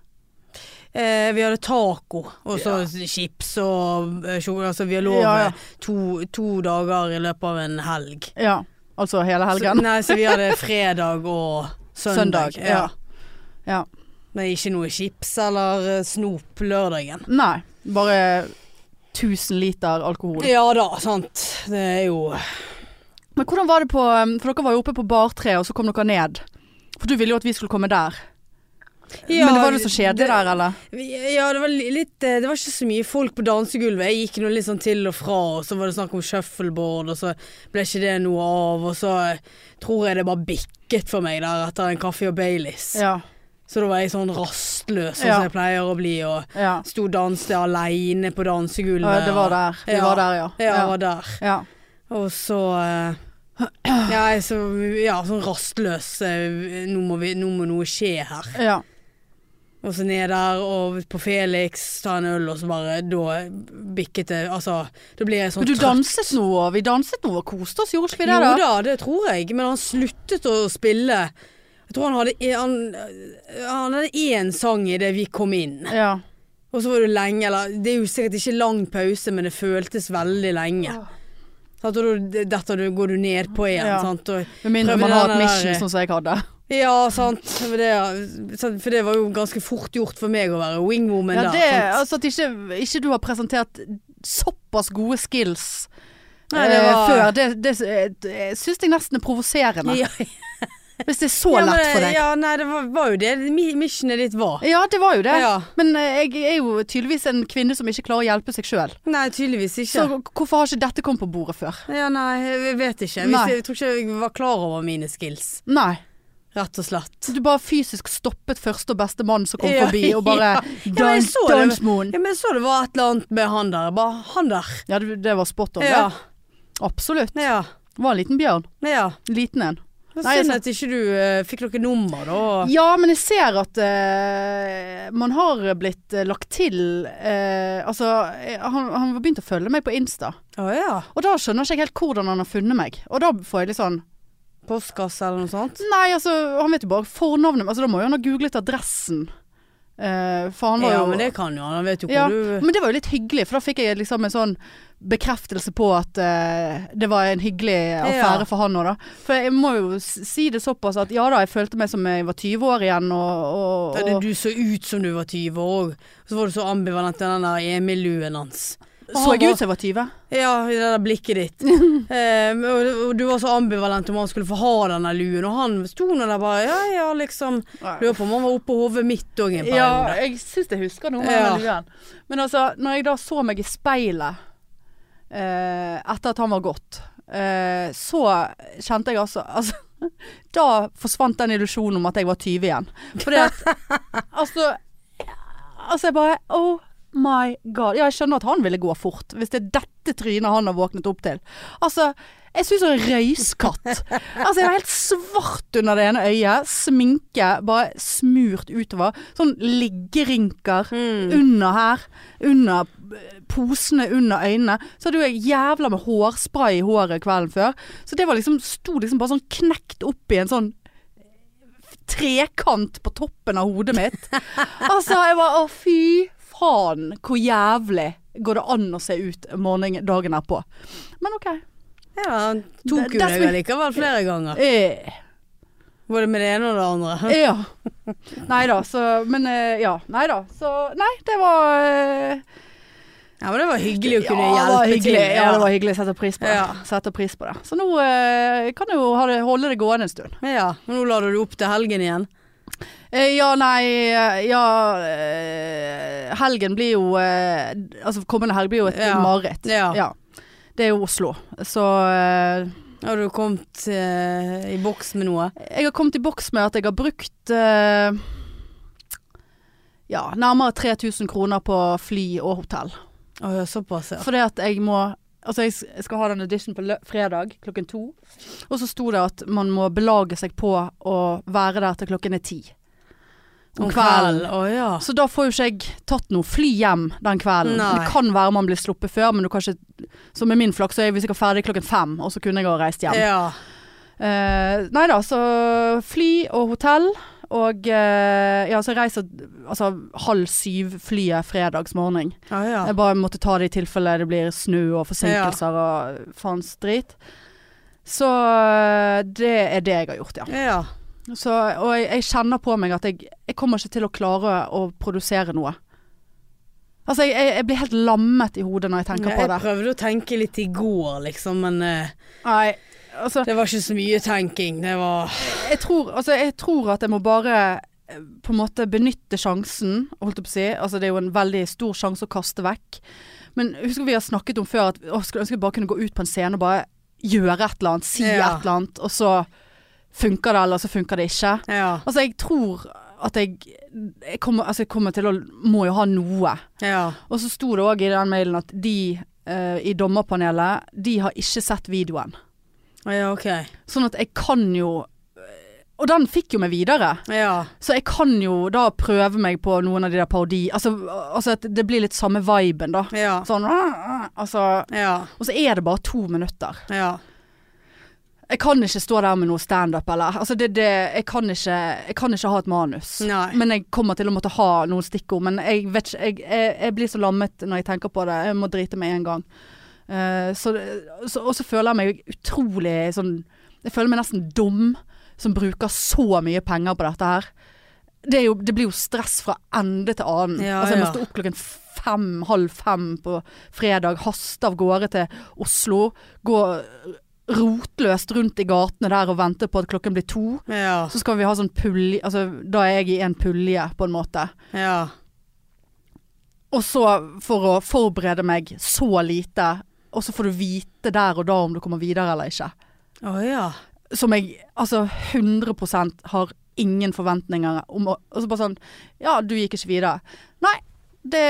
B: Eh, vi hadde taco, og så chips og eh, sjokolade. Altså, vi har lov
A: Ja, ja.
B: to, to dager i løpet av en helg.
A: Ja. Altså hele helgen?
B: Så, nei, så vi hadde fredag og søndag.
A: Søndag, ja. Ja.
B: Men ikke noe chips eller eh, snop lørdagen.
A: Nei. Bare 1000 liter alkohol.
B: Ja da, sant. Det er jo
A: Men hvordan var det på um, For dere var jo oppe på bartreet, og så kom dere ned. For du ville jo at vi skulle komme der. Men det var det så kjedelig der, eller?
B: Ja, det var li- litt eh, Det var ikke så mye folk på dansegulvet. Jeg gikk nå litt sånn til og fra, og så var det snakk om shuffleboard, og så ble ikke det noe av, og så eh, tror jeg det bare bikket for meg der etter en kaffe og Baileys.
A: Ja.
B: Så da var jeg sånn rastløs, sånn
A: Ja.
B: som jeg pleier å bli, og
A: ja.
B: sto og danset aleine på dansegulvet.
A: Ja, det var der. Vi
B: Ja.
A: var der, ja.
B: og- Ja, jeg var der.
A: ja.
B: Og så eh, (clears throat) ja, jeg så, ja, sånn rastløs. eh, Nå må, vi, nå må noe skje her.
A: ja.
B: Og så ned der og på Felix, ta en øl, og så bare Da bikket det Altså, da blir jeg sånn
A: Men du
B: trøtt.
A: danset nå, og vi danset nå og koste oss, gjorde ikke vi det?
B: Jo
A: da?
B: da, det tror jeg. Men han sluttet å spille. Jeg tror han hadde en- han, han hadde én sang idet vi kom inn.
A: Ja.
B: Og så var det lenge, eller Det er jo sikkert ikke lang pause, men det føltes veldig lenge.
A: Åh.
B: Sant, og da detter du, går du ned på igjen,
A: Ja.
B: sant. Og,
A: Med mindre
B: Prøvde
A: man har
B: den
A: et
B: der- eh,
A: mission sånn som jeg hadde.
B: ja, sant. For det, sant, for det var jo ganske fort gjort for meg å være wingwoman
A: Ja,
B: der.
A: det,
B: sant?
A: altså at ikke, ikke du har presentert såpass gode skills
B: Nei, det var-
A: eh, før, det, det, det syns jeg nesten er provoserende.
B: Ja,
A: Hvis det er så
B: Ja, men
A: lett
B: det-
A: for deg. Ja,
B: Ja, nei, det var, var jo det mi- missionet ditt var.
A: det var jo det.
B: Ja.
A: Men eh, jeg er jo tydeligvis en kvinne som ikke klarer å hjelpe seg sjøl.
B: Nei, tydeligvis
A: Så
B: ikke.
A: hvorfor har ikke dette kommet på bordet før?
B: Ja, nei, jeg vet ikke. Hvis,
A: Nei.
B: jeg tror ikke jeg var klar over mine skills,
A: Nei.
B: rett og slett.
A: Så du bare fysisk stoppet første og beste mann som kom
B: Ja,
A: forbi, og bare
B: (laughs) ja. Ja, men jeg
A: Dance,
B: så det.
A: dance moon.
B: Ja, men jeg så det var et eller annet med han der. Bare han der.
A: Ja, det, det var spot on.
B: Ja.
A: det. Absolutt.
B: ja.
A: Det var en liten bjørn.
B: ja.
A: Liten en.
B: Det
A: Nei,
B: er synd
A: jeg
B: at ikke du eh, fikk noe nummer, da.
A: Ja, men jeg ser at eh, man har blitt eh, lagt til eh, Altså, eh, han, han har begynt å følge meg på Insta.
B: Å ja.
A: Og da skjønner ikke jeg helt hvordan han har funnet meg. Og da får jeg litt sånn
B: Postkasse eller noe sånt.
A: Nei, altså, han vet jo bare fornavnet Altså, da må jo han ha googlet adressen. Eh, for han var
B: Ja,
A: jo
B: men det kan jo han. Han vet jo hvor
A: Ja,
B: du
A: men det var jo litt hyggelig, for da fikk jeg liksom en sånn bekreftelse på at eh, det var en hyggelig affære
B: Ja.
A: for han òg, da. For jeg må jo s- si det såpass at ja da, jeg følte meg som jeg var 20 år igjen, og, og,
B: Da
A: og
B: det- Du så ut som du var 20 år, og så var du så ambivalent til den der Emil-luen hans.
A: Så jeg ut som jeg var 20?
B: Ja, i det der
A: (laughs)
B: blikket ditt. eh, og, og du var så ambivalent om han skulle få ha denne luen, og han sto nå der bare ja, ja, liksom. Lurer på om han var oppå hodet mitt òg en
A: Ja,
B: periode.
A: jeg syns jeg husker noe med
B: Ja.
A: den luen. Men altså, når jeg da så meg i speilet eh, etter at han var gått, eh, så kjente jeg altså, altså (laughs) Da forsvant den illusjonen om at jeg var 20 igjen. Fordi at Altså, altså jeg bare Oh my god. Ja, jeg skjønner at han ville gå fort, hvis det er dette trynet han har våknet opp til. Altså, jeg synes han er en røyskatt. Altså, jeg var helt svart under det ene øyet. Sminke bare smurt utover. Sånn liggerynker
B: Mm.
A: under her. Under eh, posene under øynene. Så hadde jo jeg jævla med hårspray i håret kvelden før. Så det var liksom, sto liksom bare sånn knekt opp i en sånn trekant på toppen av hodet mitt. Altså, jeg var Å, fy faen, hvor jævlig går det an å se ut morgenen dagen erpå. Men OK.
B: Ja, han tok
A: Det-
B: jo
A: det som-
B: deg likevel flere ganger.
A: Eh,
B: Både med det ene og det andre.
A: ja. Nei da, så Men eh, ja. Nei da. Så Nei, det var eh,
B: (laughs) Ja, Men det var hyggelig å kunne
A: ja, det var
B: hjelpe
A: hyggelig.
B: til.
A: Ja, det var hyggelig. Setter pris på det.
B: Ja.
A: Setter pris på det. Så nå eh, kan jeg jo ha det, holde det gående en stund.
B: ja. Men nå lader du opp til helgen igjen.
A: Eh, Ja, nei eh, Ja eh, Helgen blir jo eh, Altså kommende helg blir jo et
B: Ja.
A: mareritt.
B: Ja.
A: Ja. Det er jo Oslo. Så eh,
B: Har du kommet eh, i boks med noe?
A: jeg har kommet i boks med at jeg har brukt eh, ja, nærmere 3000 kroner på fly og hotell.
B: Å ja, såpass, ja.
A: Fordi at jeg må Altså jeg s- jeg skal ha den audition på lø fredag klokken to. Og så sto det at man må belage seg på å være der til klokken er ti. Om kvelden.
B: Å ja.
A: Så da får jo ikke jeg tatt noe fly hjem den kvelden.
B: Nei.
A: Det kan være man blir sluppet før, men du kan ikke Så med min flaks så er vi sikkert ferdig klokken fem, og så kunne jeg ha reist hjem.
B: ja.
A: Eh, nei da, så fly og hotell. Og eh, ja, så jeg reiser altså halv syv-flyet fredagsmorgen.
B: Å ja.
A: Jeg bare måtte ta det i tilfelle det blir snø og forsinkelser og faens drit. Så eh, det er det jeg har gjort, ja.
B: ja.
A: Så, og jeg, jeg kjenner på meg at jeg, jeg kommer ikke til å klare å produsere noe. Altså, jeg, jeg, jeg blir helt lammet i hodet når jeg tenker
B: Ja,
A: på
B: jeg
A: det.
B: prøvde å tenke litt i går, liksom, men eh,
A: Nei, altså,
B: Det var ikke så mye tenking. Det var
A: jeg, tror, altså, jeg tror at jeg må bare eh, på en måte benytte sjansen, holdt jeg på å si. Altså, det er jo en veldig stor sjanse å kaste vekk. Men jeg husker vi har snakket om før at å, skulle ønske jeg bare kunne gå ut på en scene og bare gjøre et eller annet, si
B: Ja.
A: et eller annet, og så funker det, eller så funker det ikke.
B: Ja.
A: Altså, jeg tror at jeg, jeg, kommer, altså, jeg kommer til å Må jo ha noe.
B: ja.
A: Og så sto det òg i den mailen at de eh, i dommerpanelet, de har ikke sett videoen.
B: Ja, OK.
A: Sånn at jeg kan jo eh, Og den fikk jo meg videre.
B: Ja.
A: Så jeg kan jo da prøve meg på noen av de der parodi... Altså, altså at det blir litt samme viben, da.
B: Ja.
A: Sånn «Åh, åh», altså,
B: Ja.
A: Og så er det bare to minutter.
B: Ja.
A: Jeg kan ikke stå der med noe standup eller altså det, det, jeg, kan ikke, jeg kan ikke ha et manus.
B: Nei.
A: Men jeg kommer til å måtte ha noen stikkord. Men jeg vet ikke jeg, jeg, jeg blir så lammet når jeg tenker på det. Jeg må drite med en gang. Eh, så, det- så, og så føler jeg meg utrolig sånn Jeg føler meg nesten dum som bruker så mye penger på dette her. Det, er jo, det blir jo stress fra ende til annen.
B: Ja,
A: altså, jeg må
B: ja.
A: stå opp klokken fem, halv fem på fredag, haste av gårde til Oslo. Gå rotløst rundt i gatene der og vente på at klokken blir to.
B: Ja.
A: Så skal vi ha sånn pulje altså, Da er jeg i en pulje på en måte
B: Ja.
A: Og så for å forberede meg så lite Og så får du vite der og da om du kommer videre eller ikke
B: Å ja.
A: Som jeg altså 100% har ingen forventninger om å, Og så bare sånn Ja, du gikk ikke videre Nei, det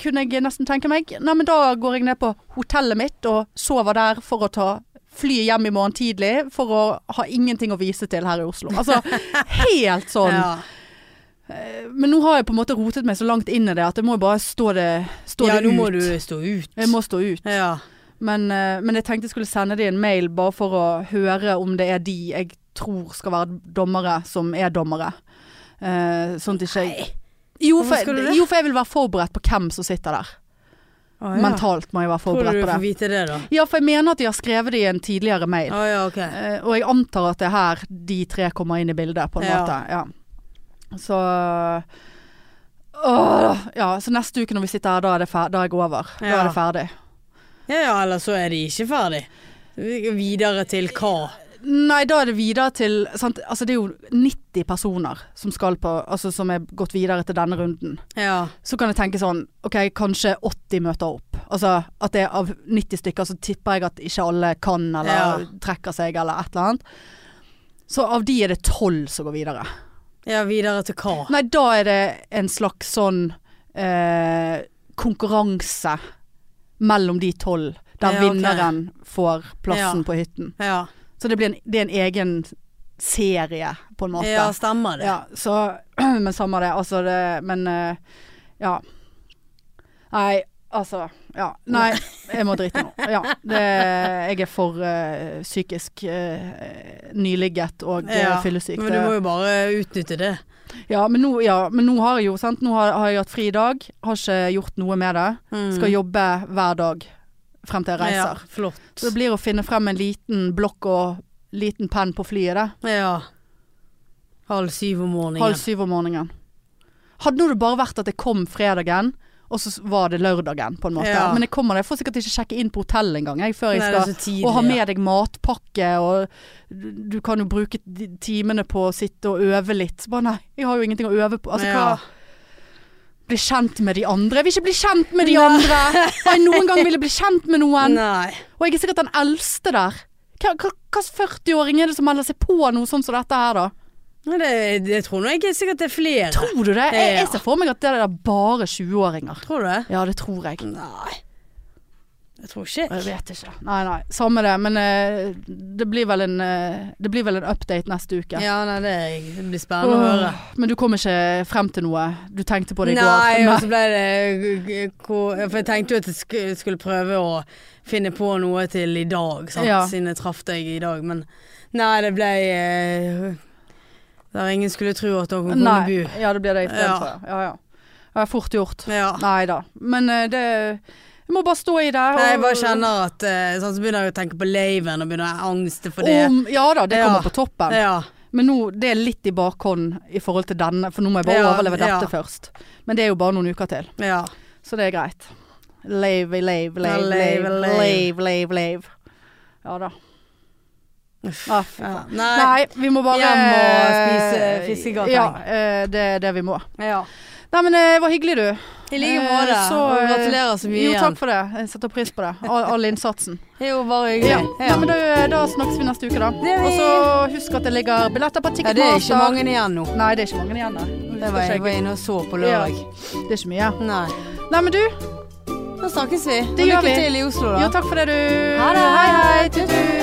A: kunne jeg nesten tenke meg Nei, men da går jeg ned på hotellet mitt Og sover der for å ta flyet hjem i morgen tidlig For å ha ingenting å vise til her i Oslo Altså, helt sånn
B: Ja.
A: Men nå har jeg på en måte rotet meg så langt inn i det at jeg må bare stå det, stå
B: ja,
A: det
B: nå
A: ut.
B: må du stå ut.
A: Jeg må stå ut.
B: Ja.
A: Men, eh, men jeg tenkte jeg skulle sende de en mail bare for å høre om det er de jeg tror skal være dommere, som er dommere. Eh, sånn at ikke jeg jo
B: Hvorfor
A: for,
B: skal du det?
A: jeg- jo, for jeg vil være forberedt på hvem som sitter der.
B: Å, ja.
A: Mentalt må jeg være
B: Tror du
A: forberedt
B: du
A: på
B: får
A: det.
B: vite det, da?
A: Ja, for jeg mener at de har skrevet det i en tidligere mail.
B: Å ja, OK.
A: Eh, og jeg antar at det er her de tre kommer inn i bildet, på en
B: Ja.
A: måte. Ja. Så Åh, ja, så neste uke når vi sitter her, da er, det fer da er jeg over. Da
B: Ja.
A: er det ferdig.
B: Ja, ja, eller så er de ikke ferdig. Videre til hva?
A: Nei, da er det videre til sant? Altså, Det er jo 90 personer som skal på Altså som er gått videre til denne runden.
B: Ja.
A: Så kan jeg tenke sånn OK, kanskje 80 møter opp. Altså at det er av 90 stykker, så tipper jeg at ikke alle kan eller
B: Ja.
A: trekker seg eller et eller annet. Så av de er det 12 som går videre.
B: ja, videre til hva?
A: Nei, da er det en slags sånn eh, konkurranse mellom de tolv, der
B: Ja, ok.
A: vinneren får plassen
B: Ja.
A: på hytten.
B: Ja,
A: Så det, blir en, det er en egen serie, på en måte.
B: ja stemmer det.
A: Ja, så (clears throat) Men samme det, altså det Men eh, ja. Nei, altså Ja. Nei, jeg må drite nå. Ja. Det, jeg er for eh, psykisk eh, nyligget og eh,
B: Ja,
A: fyllesyk.
B: Men du
A: Det-
B: må jo bare utnytte det.
A: ja men, nå, ja, men nå har jeg jo sant? Nå har, har jeg hatt fri i dag, har ikke gjort noe med det. Skal jobbe hver dag frem til jeg reiser.
B: Mm. Ja, flott.
A: Så det blir å finne frem en liten blokk og liten penn på flyet, det.
B: Ja. Halv syv om morgenen.
A: Halv syv om morgenen. Hadde nå det bare vært at jeg kom fredagen, og så s- var det lørdagen, på en måte.
B: Ja.
A: Men jeg kommer det. Jeg får sikkert ikke sjekke inn på hotell engang, jeg, før jeg
B: Nei, det er
A: skal
B: så tidlig,
A: og ha
B: ja.
A: med deg matpakke, og du- du kan jo bruke de timene på å sitte og øve litt. Så Bare nei, jeg har jo ingenting å øve på. Altså
B: Ja.
A: hva Bli kjent med de andre. Jeg vil ikke bli kjent med de
B: Nei.
A: andre!
B: (laughs)
A: Har jeg noen gang ville bli kjent med noen?
B: Nei.
A: Og jeg er sikkert den eldste der. Hva slags 40-åring er det som melder seg på noe sånt som dette her, da?
B: Nei, det, jeg tror nå ikke sikkert det er flere.
A: Tror du det? Jeg,
B: Ja.
A: jeg ser for meg at det er bare 20-åringer.
B: Tror du det?
A: Ja, det tror jeg.
B: Nei. Jeg tror ikke.
A: Jeg vet ikke. Nei, nei. Samme det, men eh, det, blir vel en, eh, det blir vel en update neste uke.
B: Ja, nei, det, er- det blir spennende å høre.
A: Åh, men du kom ikke frem til noe? Du tenkte på det i
B: Nei,
A: går?
B: og så ble det hvor- For jeg tenkte jo at jeg sku- skulle prøve å finne på noe til i dag, sant?
A: Ja.
B: siden jeg traff deg i dag, men Nei, det ble eh, Der ingen skulle tro at dere kunne
A: Nei.
B: bo.
A: Ja, det blir det i stedet
B: Ja.
A: for. Ja, ja. Ja, fort gjort.
B: Ja.
A: Nei da. Men eh, det Jeg må bare stå i det.
B: Nei, jeg
A: og-
B: bare kjenner at eh, sånn, Så begynner jeg å tenke på laven og begynner å angste for det.
A: Om, ja da, det
B: Ja.
A: kommer på toppen.
B: Ja.
A: Men nå, det er litt i bakhånd i forhold til denne, for nå må jeg bare
B: Ja,
A: overleve dette
B: ja.
A: først. Men det er jo bare noen uker til.
B: ja.
A: Så det er greit. Lave, lave,
B: Ja,
A: lave,
B: lave,
A: lave,
B: lave.
A: lave, lave. Ja da. Ah, fy
B: Ja.
A: faen.
B: Nei.
A: Nei, vi må bare eh,
B: Hjem og spise fiskegratin.
A: Ja, eh, det er det vi må.
B: Ja.
A: Nei, men eh, det var hyggelig, du.
B: I like måte.
A: Eh, så,
B: og
A: eh,
B: gratulerer så mye
A: Jo,
B: igjen.
A: takk for det. Jeg setter pris på det. All, all innsatsen.
B: Det er jo bare hyggelig.
A: Ja.
B: Ja.
A: Nei, men da, da snakkes vi neste uke, da.
B: gjør vi.
A: Og så husk at det ligger billetter på
B: Ja, det er ikke
A: Ticketmaster.
B: mange igjen nå.
A: Nei, det er ikke mange igjen, nei.
B: Det var jeg var inne og så på lørdag.
A: Det er ikke mye.
B: Nei.
A: Nei, men du.
B: Da snakkes vi.
A: Det gjør
B: og lykke
A: vi.
B: til i Oslo, da.
A: Jo, takk for det, du.
B: Ha det.
A: Hei, hei. Tut, tut.